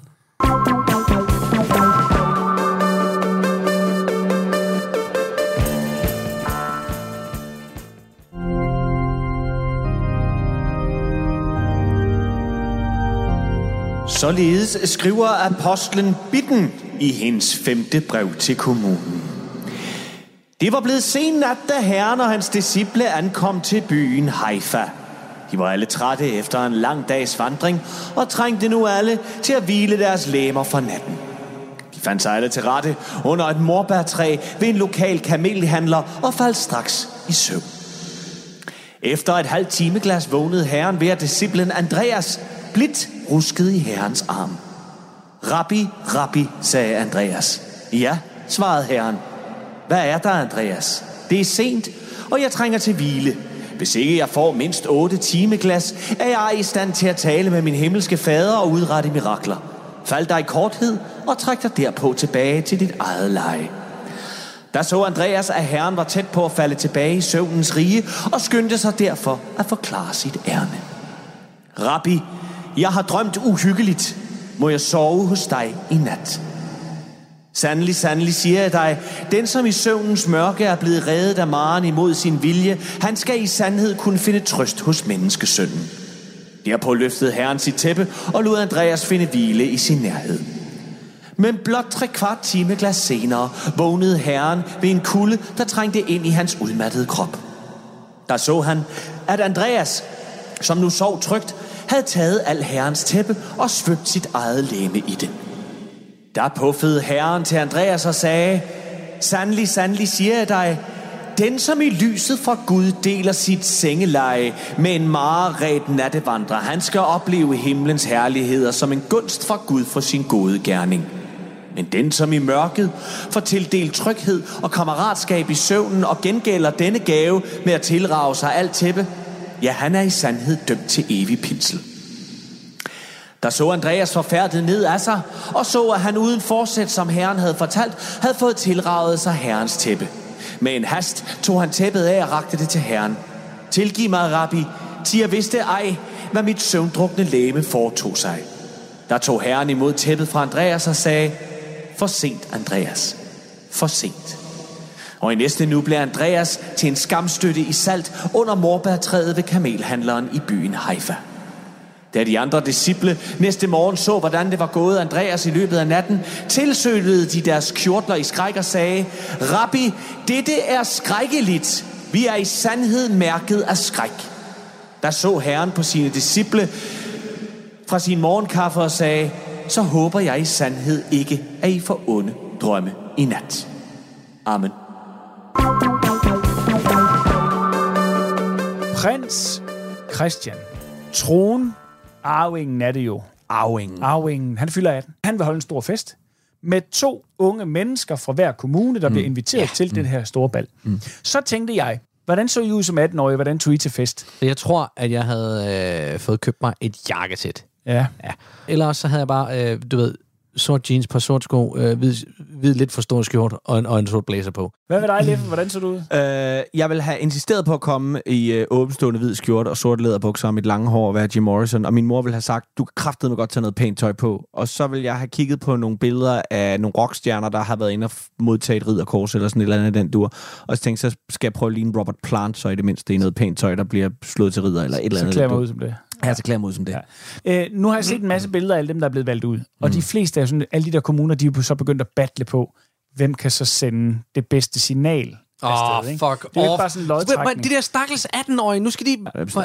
S5: Således skriver apostlen Bitten i hendes femte brev til kommunen. Det var blevet sen nat, da herren og hans disciple ankom til byen Haifa. De var alle trætte efter en lang dags vandring og trængte nu alle til at hvile deres læmer for natten. De fandt sig alle til rette under et morbærtræ ved en lokal kamelhandler og faldt straks i søvn. Efter et halvt timeglas vågnede herren ved, at disciplen Andreas blidt ruskede i herrens arm. Rabbi, rabbi, sagde Andreas. Ja, svarede herren. Hvad er der, Andreas? Det er sent, og jeg trænger til hvile. Hvis ikke jeg får mindst otte timeglas, er jeg i stand til at tale med min himmelske fader og udrette mirakler. Fald dig i korthed og træk dig derpå tilbage til dit eget leje. Der så Andreas, at herren var tæt på at falde tilbage i søvnens rige, og skyndte sig derfor at forklare sit ærne. Rabbi, jeg har drømt uhyggeligt. Må jeg sove hos dig i nat? Sandelig, sandelig siger jeg dig, den som i søvnens mørke er blevet reddet af maren imod sin vilje, han skal i sandhed kunne finde trøst hos menneskesønnen. Derpå løftede herren sit tæppe og lod Andreas finde hvile i sin nærhed. Men blot tre kvart time glas senere vågnede herren ved en kulde, der trængte ind i hans udmattede krop. Der så han, at Andreas, som nu sov trygt, havde taget al herrens tæppe og svøbt sit eget læme i det. Der puffede herren til Andreas og sagde, Sandelig, sandelig siger jeg dig, den som i lyset fra Gud deler sit sengeleje med en mareret nattevandrer, han skal opleve himlens herligheder som en gunst fra Gud for sin gode gerning. Men den, som i mørket får tildelt tryghed og kammeratskab i søvnen og gengælder denne gave med at tilrage sig alt tæppe, ja, han er i sandhed dømt til evig pinsel. Der så Andreas forfærdet ned af sig, og så, at han uden forsæt, som herren havde fortalt, havde fået tilraget sig herrens tæppe. Med en hast tog han tæppet af og rakte det til herren. Tilgiv mig, rabbi, til jeg vidste ej, hvad mit søvndrukne læme foretog sig. Der tog herren imod tæppet fra Andreas og sagde, For sent, Andreas. For sent. Og i næste nu blev Andreas til en skamstøtte i salt under morbærtræet ved kamelhandleren i byen Haifa. Da de andre disciple næste morgen så, hvordan det var gået Andreas i løbet af natten, tilsølede de deres kjortler i skræk og sagde, Rabbi, dette er skrækkeligt. Vi er i sandhed mærket af skræk. Der så herren på sine disciple fra sin morgenkaffe og sagde, så håber jeg i sandhed ikke, at I får onde drømme i nat. Amen.
S3: Prins Christian. Tronen. Arvingen er det jo.
S10: Arvingen.
S3: Arvingen, han fylder 18. Han vil holde en stor fest med to unge mennesker fra hver kommune, der mm. bliver inviteret ja. til mm. den her store bal. Mm. Så tænkte jeg, hvordan så I ud som 18-årige? Hvordan tog I til fest?
S4: Så Jeg tror, at jeg havde øh, fået købt mig et jakkesæt.
S3: Ja.
S4: Ja. Eller også så havde jeg bare, øh, du ved, sort jeans, par sort sko, øh, hvid, hvid lidt for stor skjort og en, og en sort blazer på.
S3: Hvad med dig, Leffen? Hvordan så du ud?
S10: Øh, jeg vil have insisteret på at komme i øh, åbenstående hvid skjorte og sort læderbukser og mit lange hår og være Jim Morrison. Og min mor vil have sagt, du kan kraftedeme godt tage noget pænt tøj på. Og så vil jeg have kigget på nogle billeder af nogle rockstjerner, der har været inde og f- modtage et ridderkors eller sådan et eller andet af den dur. Og så tænkte jeg, så skal jeg prøve at ligne Robert Plant, så i det mindste i noget pænt tøj, der bliver slået til ridder eller et eller
S3: Så
S10: andet.
S3: klæder jeg mig ud som det.
S10: Ja, så klæder jeg mig ud som det. Ja.
S3: Øh, nu har jeg set en masse billeder af alle dem, der er blevet valgt ud. Og de fleste af sådan, alle de der kommuner, de er jo så begyndt at battle på, hvem kan så sende det bedste signal
S4: Åh,
S3: afsted, ikke?
S4: fuck
S3: Det er jo ikke
S4: off.
S3: bare sådan en
S4: Men- men
S3: lodtrækning.
S4: De der stakkels 18-årige, nu skal de...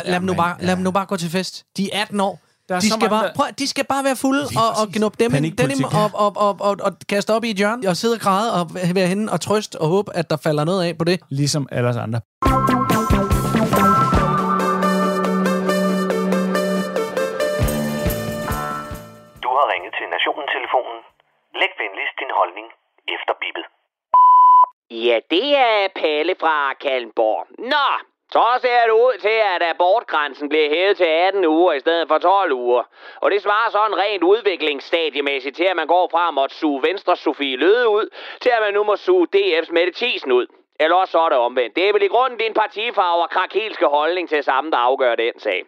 S4: Lad dem nu bare, lad dem nu bare gå til fest. De er 18 år.
S3: Der er
S4: De
S3: så
S4: skal,
S3: mange,
S4: bare,
S3: der-
S4: prøv, at- de skal bare være fulde og, og gnuppe dem, ind-
S5: Panikpolitik.
S4: denim op, op, op, op, og kaste op i et hjørne og sidde og græde og være henne og trøste og håbe, at der falder noget af på det.
S3: Ligesom alle os andre.
S11: Du har ringet til Nationen-telefonen. Læg venligst din holdning efter bippet.
S6: Ja, det er Palle fra Kalmborg. Nå, så ser det ud til, at abortgrænsen bliver hævet til 18 uger i stedet for 12 uger. Og det svarer sådan rent udviklingsstadiemæssigt til, at man går fra at måtte suge Venstre Sofie Løde ud, til at man nu må suge DF's Mette Thiesen ud. Eller også så er det omvendt. Det er vel i grunden din partifarve og krakilske holdning til sammen, der afgør den sag.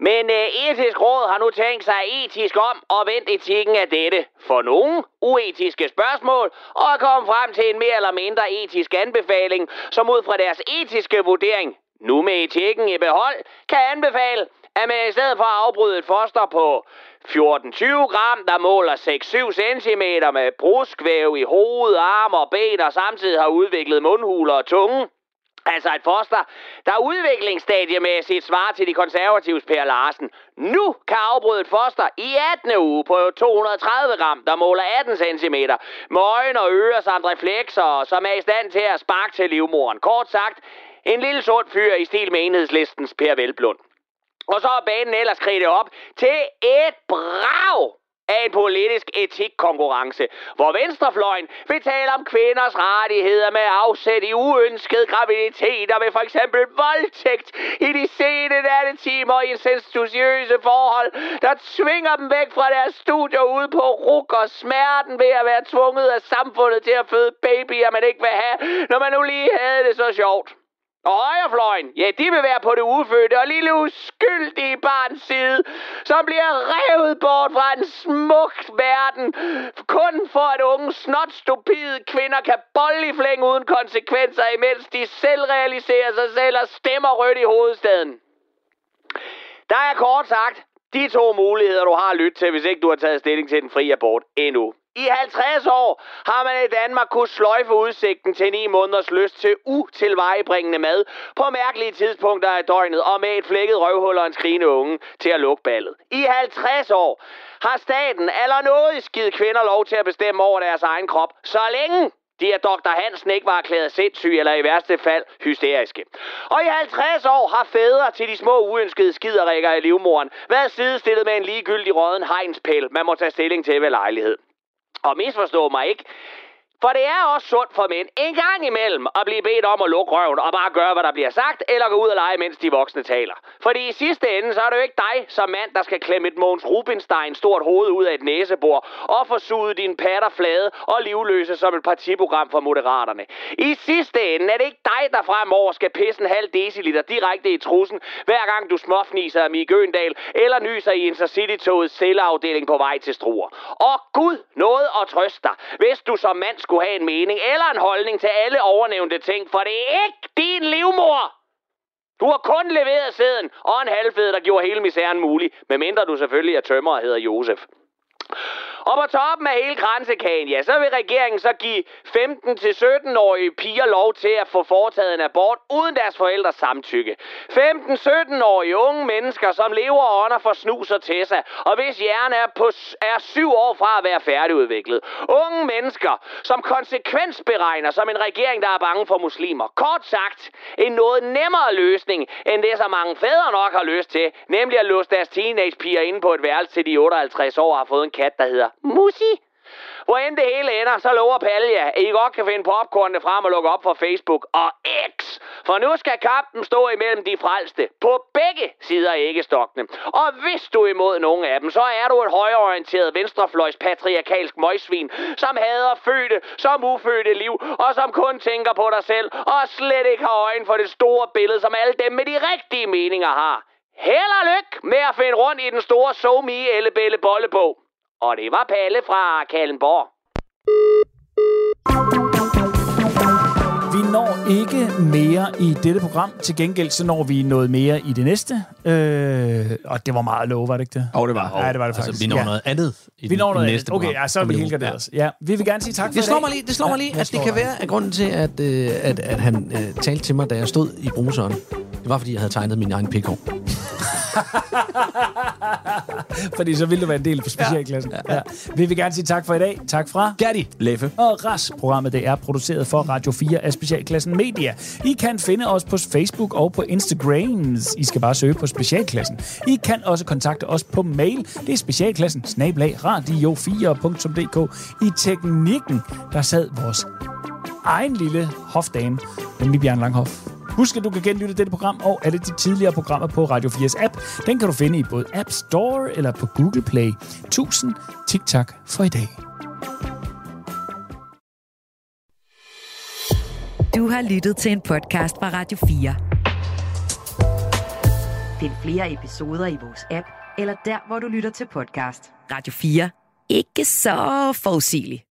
S6: Men øh, etisk råd har nu tænkt sig etisk om og vendt etikken af dette for nogle uetiske spørgsmål og er kommet frem til en mere eller mindre etisk anbefaling, som ud fra deres etiske vurdering, nu med etikken i behold, kan anbefale, at man i stedet for at afbryde et foster på 14-20 gram, der måler 6-7 cm med bruskvæv i hoved, arme og ben og samtidig har udviklet mundhuler og tunge, Altså et foster, der udviklingsstadiemæssigt svarer til de konservatives Per Larsen. Nu kan afbryde et foster i 18. uge på 230 gram, der måler 18 cm, med øjne og ører samt reflekser, som er i stand til at sparke til livmoren. Kort sagt, en lille sund fyr i stil med enhedslistens Per Velblund. Og så er banen ellers kridtet op til et brag af en politisk etikkonkurrence, hvor venstrefløjen vil tale om kvinders rettigheder med afsæt i uønskede graviditeter med for eksempel voldtægt i de sene nattetimer i sensuøse forhold, der tvinger dem væk fra deres studier ude på ruk og smerten ved at være tvunget af samfundet til at føde babyer, man ikke vil have, når man nu lige havde det så sjovt. Og højrefløjen, ja, de vil være på det ufødte og lille uskyldige barns side, som bliver revet bort fra en smuk verden, kun for at unge snot stupide kvinder kan bolle i flæng uden konsekvenser, imens de selv realiserer sig selv og stemmer rødt i hovedstaden. Der er kort sagt de to muligheder, du har at lytte til, hvis ikke du har taget stilling til den frie abort endnu. I 50 år har man i Danmark kunnet sløjfe udsigten til 9 måneders lyst til utilvejebringende mad på mærkelige tidspunkter af døgnet og med et flækket røvhul og en skrigende unge til at lukke ballet. I 50 år har staten eller noget skidt kvinder lov til at bestemme over deres egen krop, så længe de at Dr. Hansen ikke var erklæret sindssyg eller i værste fald hysteriske. Og i 50 år har fædre til de små uønskede skiderikker i livmoren været sidestillet med en ligegyldig råden hegnspæl, man må tage stilling til ved lejlighed. Og misforstå mig ikke, for det er også sundt for mænd en gang imellem at blive bedt om at lukke røven og bare gøre, hvad der bliver sagt, eller gå ud og lege, mens de voksne taler. Fordi i sidste ende, så er det jo ikke dig som mand, der skal klemme et Måns Rubinstein stort hoved ud af et næsebor og få suget dine patter flade og livløse som et partiprogram for Moderaterne. I sidste ende er det ikke dig, der fremover skal pisse en halv deciliter direkte i trussen, hver gang du småfniser af Mie Gøndal eller nyser i Intercity-togets celleafdeling på vej til Struer. Og Gud noget at trøste dig, hvis du som mand skulle have en mening eller en holdning til alle overnævnte ting, for det er ikke din livmor, du har kun leveret sæden og en halvfed, der gjorde hele misæren mulig, medmindre du selvfølgelig er tømmer og hedder Josef. Og på toppen af hele grænsekagen, ja, så vil regeringen så give 15-17-årige piger lov til at få foretaget en abort uden deres forældres samtykke. 15-17-årige unge mennesker, som lever og ånder for snus og tessa, og hvis hjernen er, på, s- er syv år fra at være færdigudviklet. Unge mennesker, som konsekvensberegner som en regering, der er bange for muslimer. Kort sagt, en noget nemmere løsning, end det, som mange fædre nok har lyst til, nemlig at låse deres teenagepiger inde på et værelse til de 58 år og har fået en kat, der hedder Musi. Hvor end det hele ender, så lover Palja, at I godt kan finde popcornene frem og lukke op for Facebook og X. For nu skal kampen stå imellem de frelste på begge sider af æggestokkene. Og hvis du er imod nogen af dem, så er du et højreorienteret venstrefløjs patriarkalsk møgsvin, som hader fødte som ufødte liv, og som kun tænker på dig selv, og slet ikke har øjen for det store billede, som alle dem med de rigtige meninger har. Held og lykke med at finde rundt i den store somi ellebælle bollebog. Og det var Palle fra Kallenborg.
S3: Vi når ikke mere i dette program. Til gengæld så når vi noget mere i det næste. Øh, og det var meget lov, var det ikke det?
S5: Åh, oh, det var.
S3: Ja, det var det faktisk.
S4: Altså, vi når
S3: ja.
S4: noget andet i
S3: Vi når
S4: den,
S3: noget
S4: næste
S3: andet. Okay,
S4: program,
S3: ja, så er
S4: som
S3: vi
S4: nu-
S3: helt
S4: Ja.
S3: garderet. Ja. vi vil gerne sige tak for
S4: Det
S3: i
S4: slår
S3: dag.
S4: mig lige, det slår mig
S3: Ja,
S4: lige
S3: jeg
S4: at det
S3: slår
S4: kan
S3: dig.
S4: være, at grunden til, at, øh, at, at han øh, talte til mig, da jeg stod i bruseren, det var, fordi jeg havde tegnet min egen pikhår.
S3: *laughs* Fordi så vil du være en del af specialklassen. Ja. Ja. Vi vil gerne sige tak for i dag. Tak fra Gerti,
S5: Leffe
S3: og Ras. Programmet det er produceret for Radio 4 af Specialklassen Media. I kan finde os på Facebook og på Instagrams. I skal bare søge på Specialklassen. I kan også kontakte os på mail. Det er specialklassen snablag radio4.dk. I teknikken, der sad vores egen lille hofdame, nemlig Bjørn Langhoff. Husk, at du kan genlytte dette program og alle de tidligere programmer på Radio 4's app. Den kan du finde i både App Store eller på Google Play. Tusind tak for i dag.
S12: Du har lyttet til en podcast fra Radio 4. Find flere episoder i vores app, eller der, hvor du lytter til podcast. Radio 4. Ikke så forudsigeligt.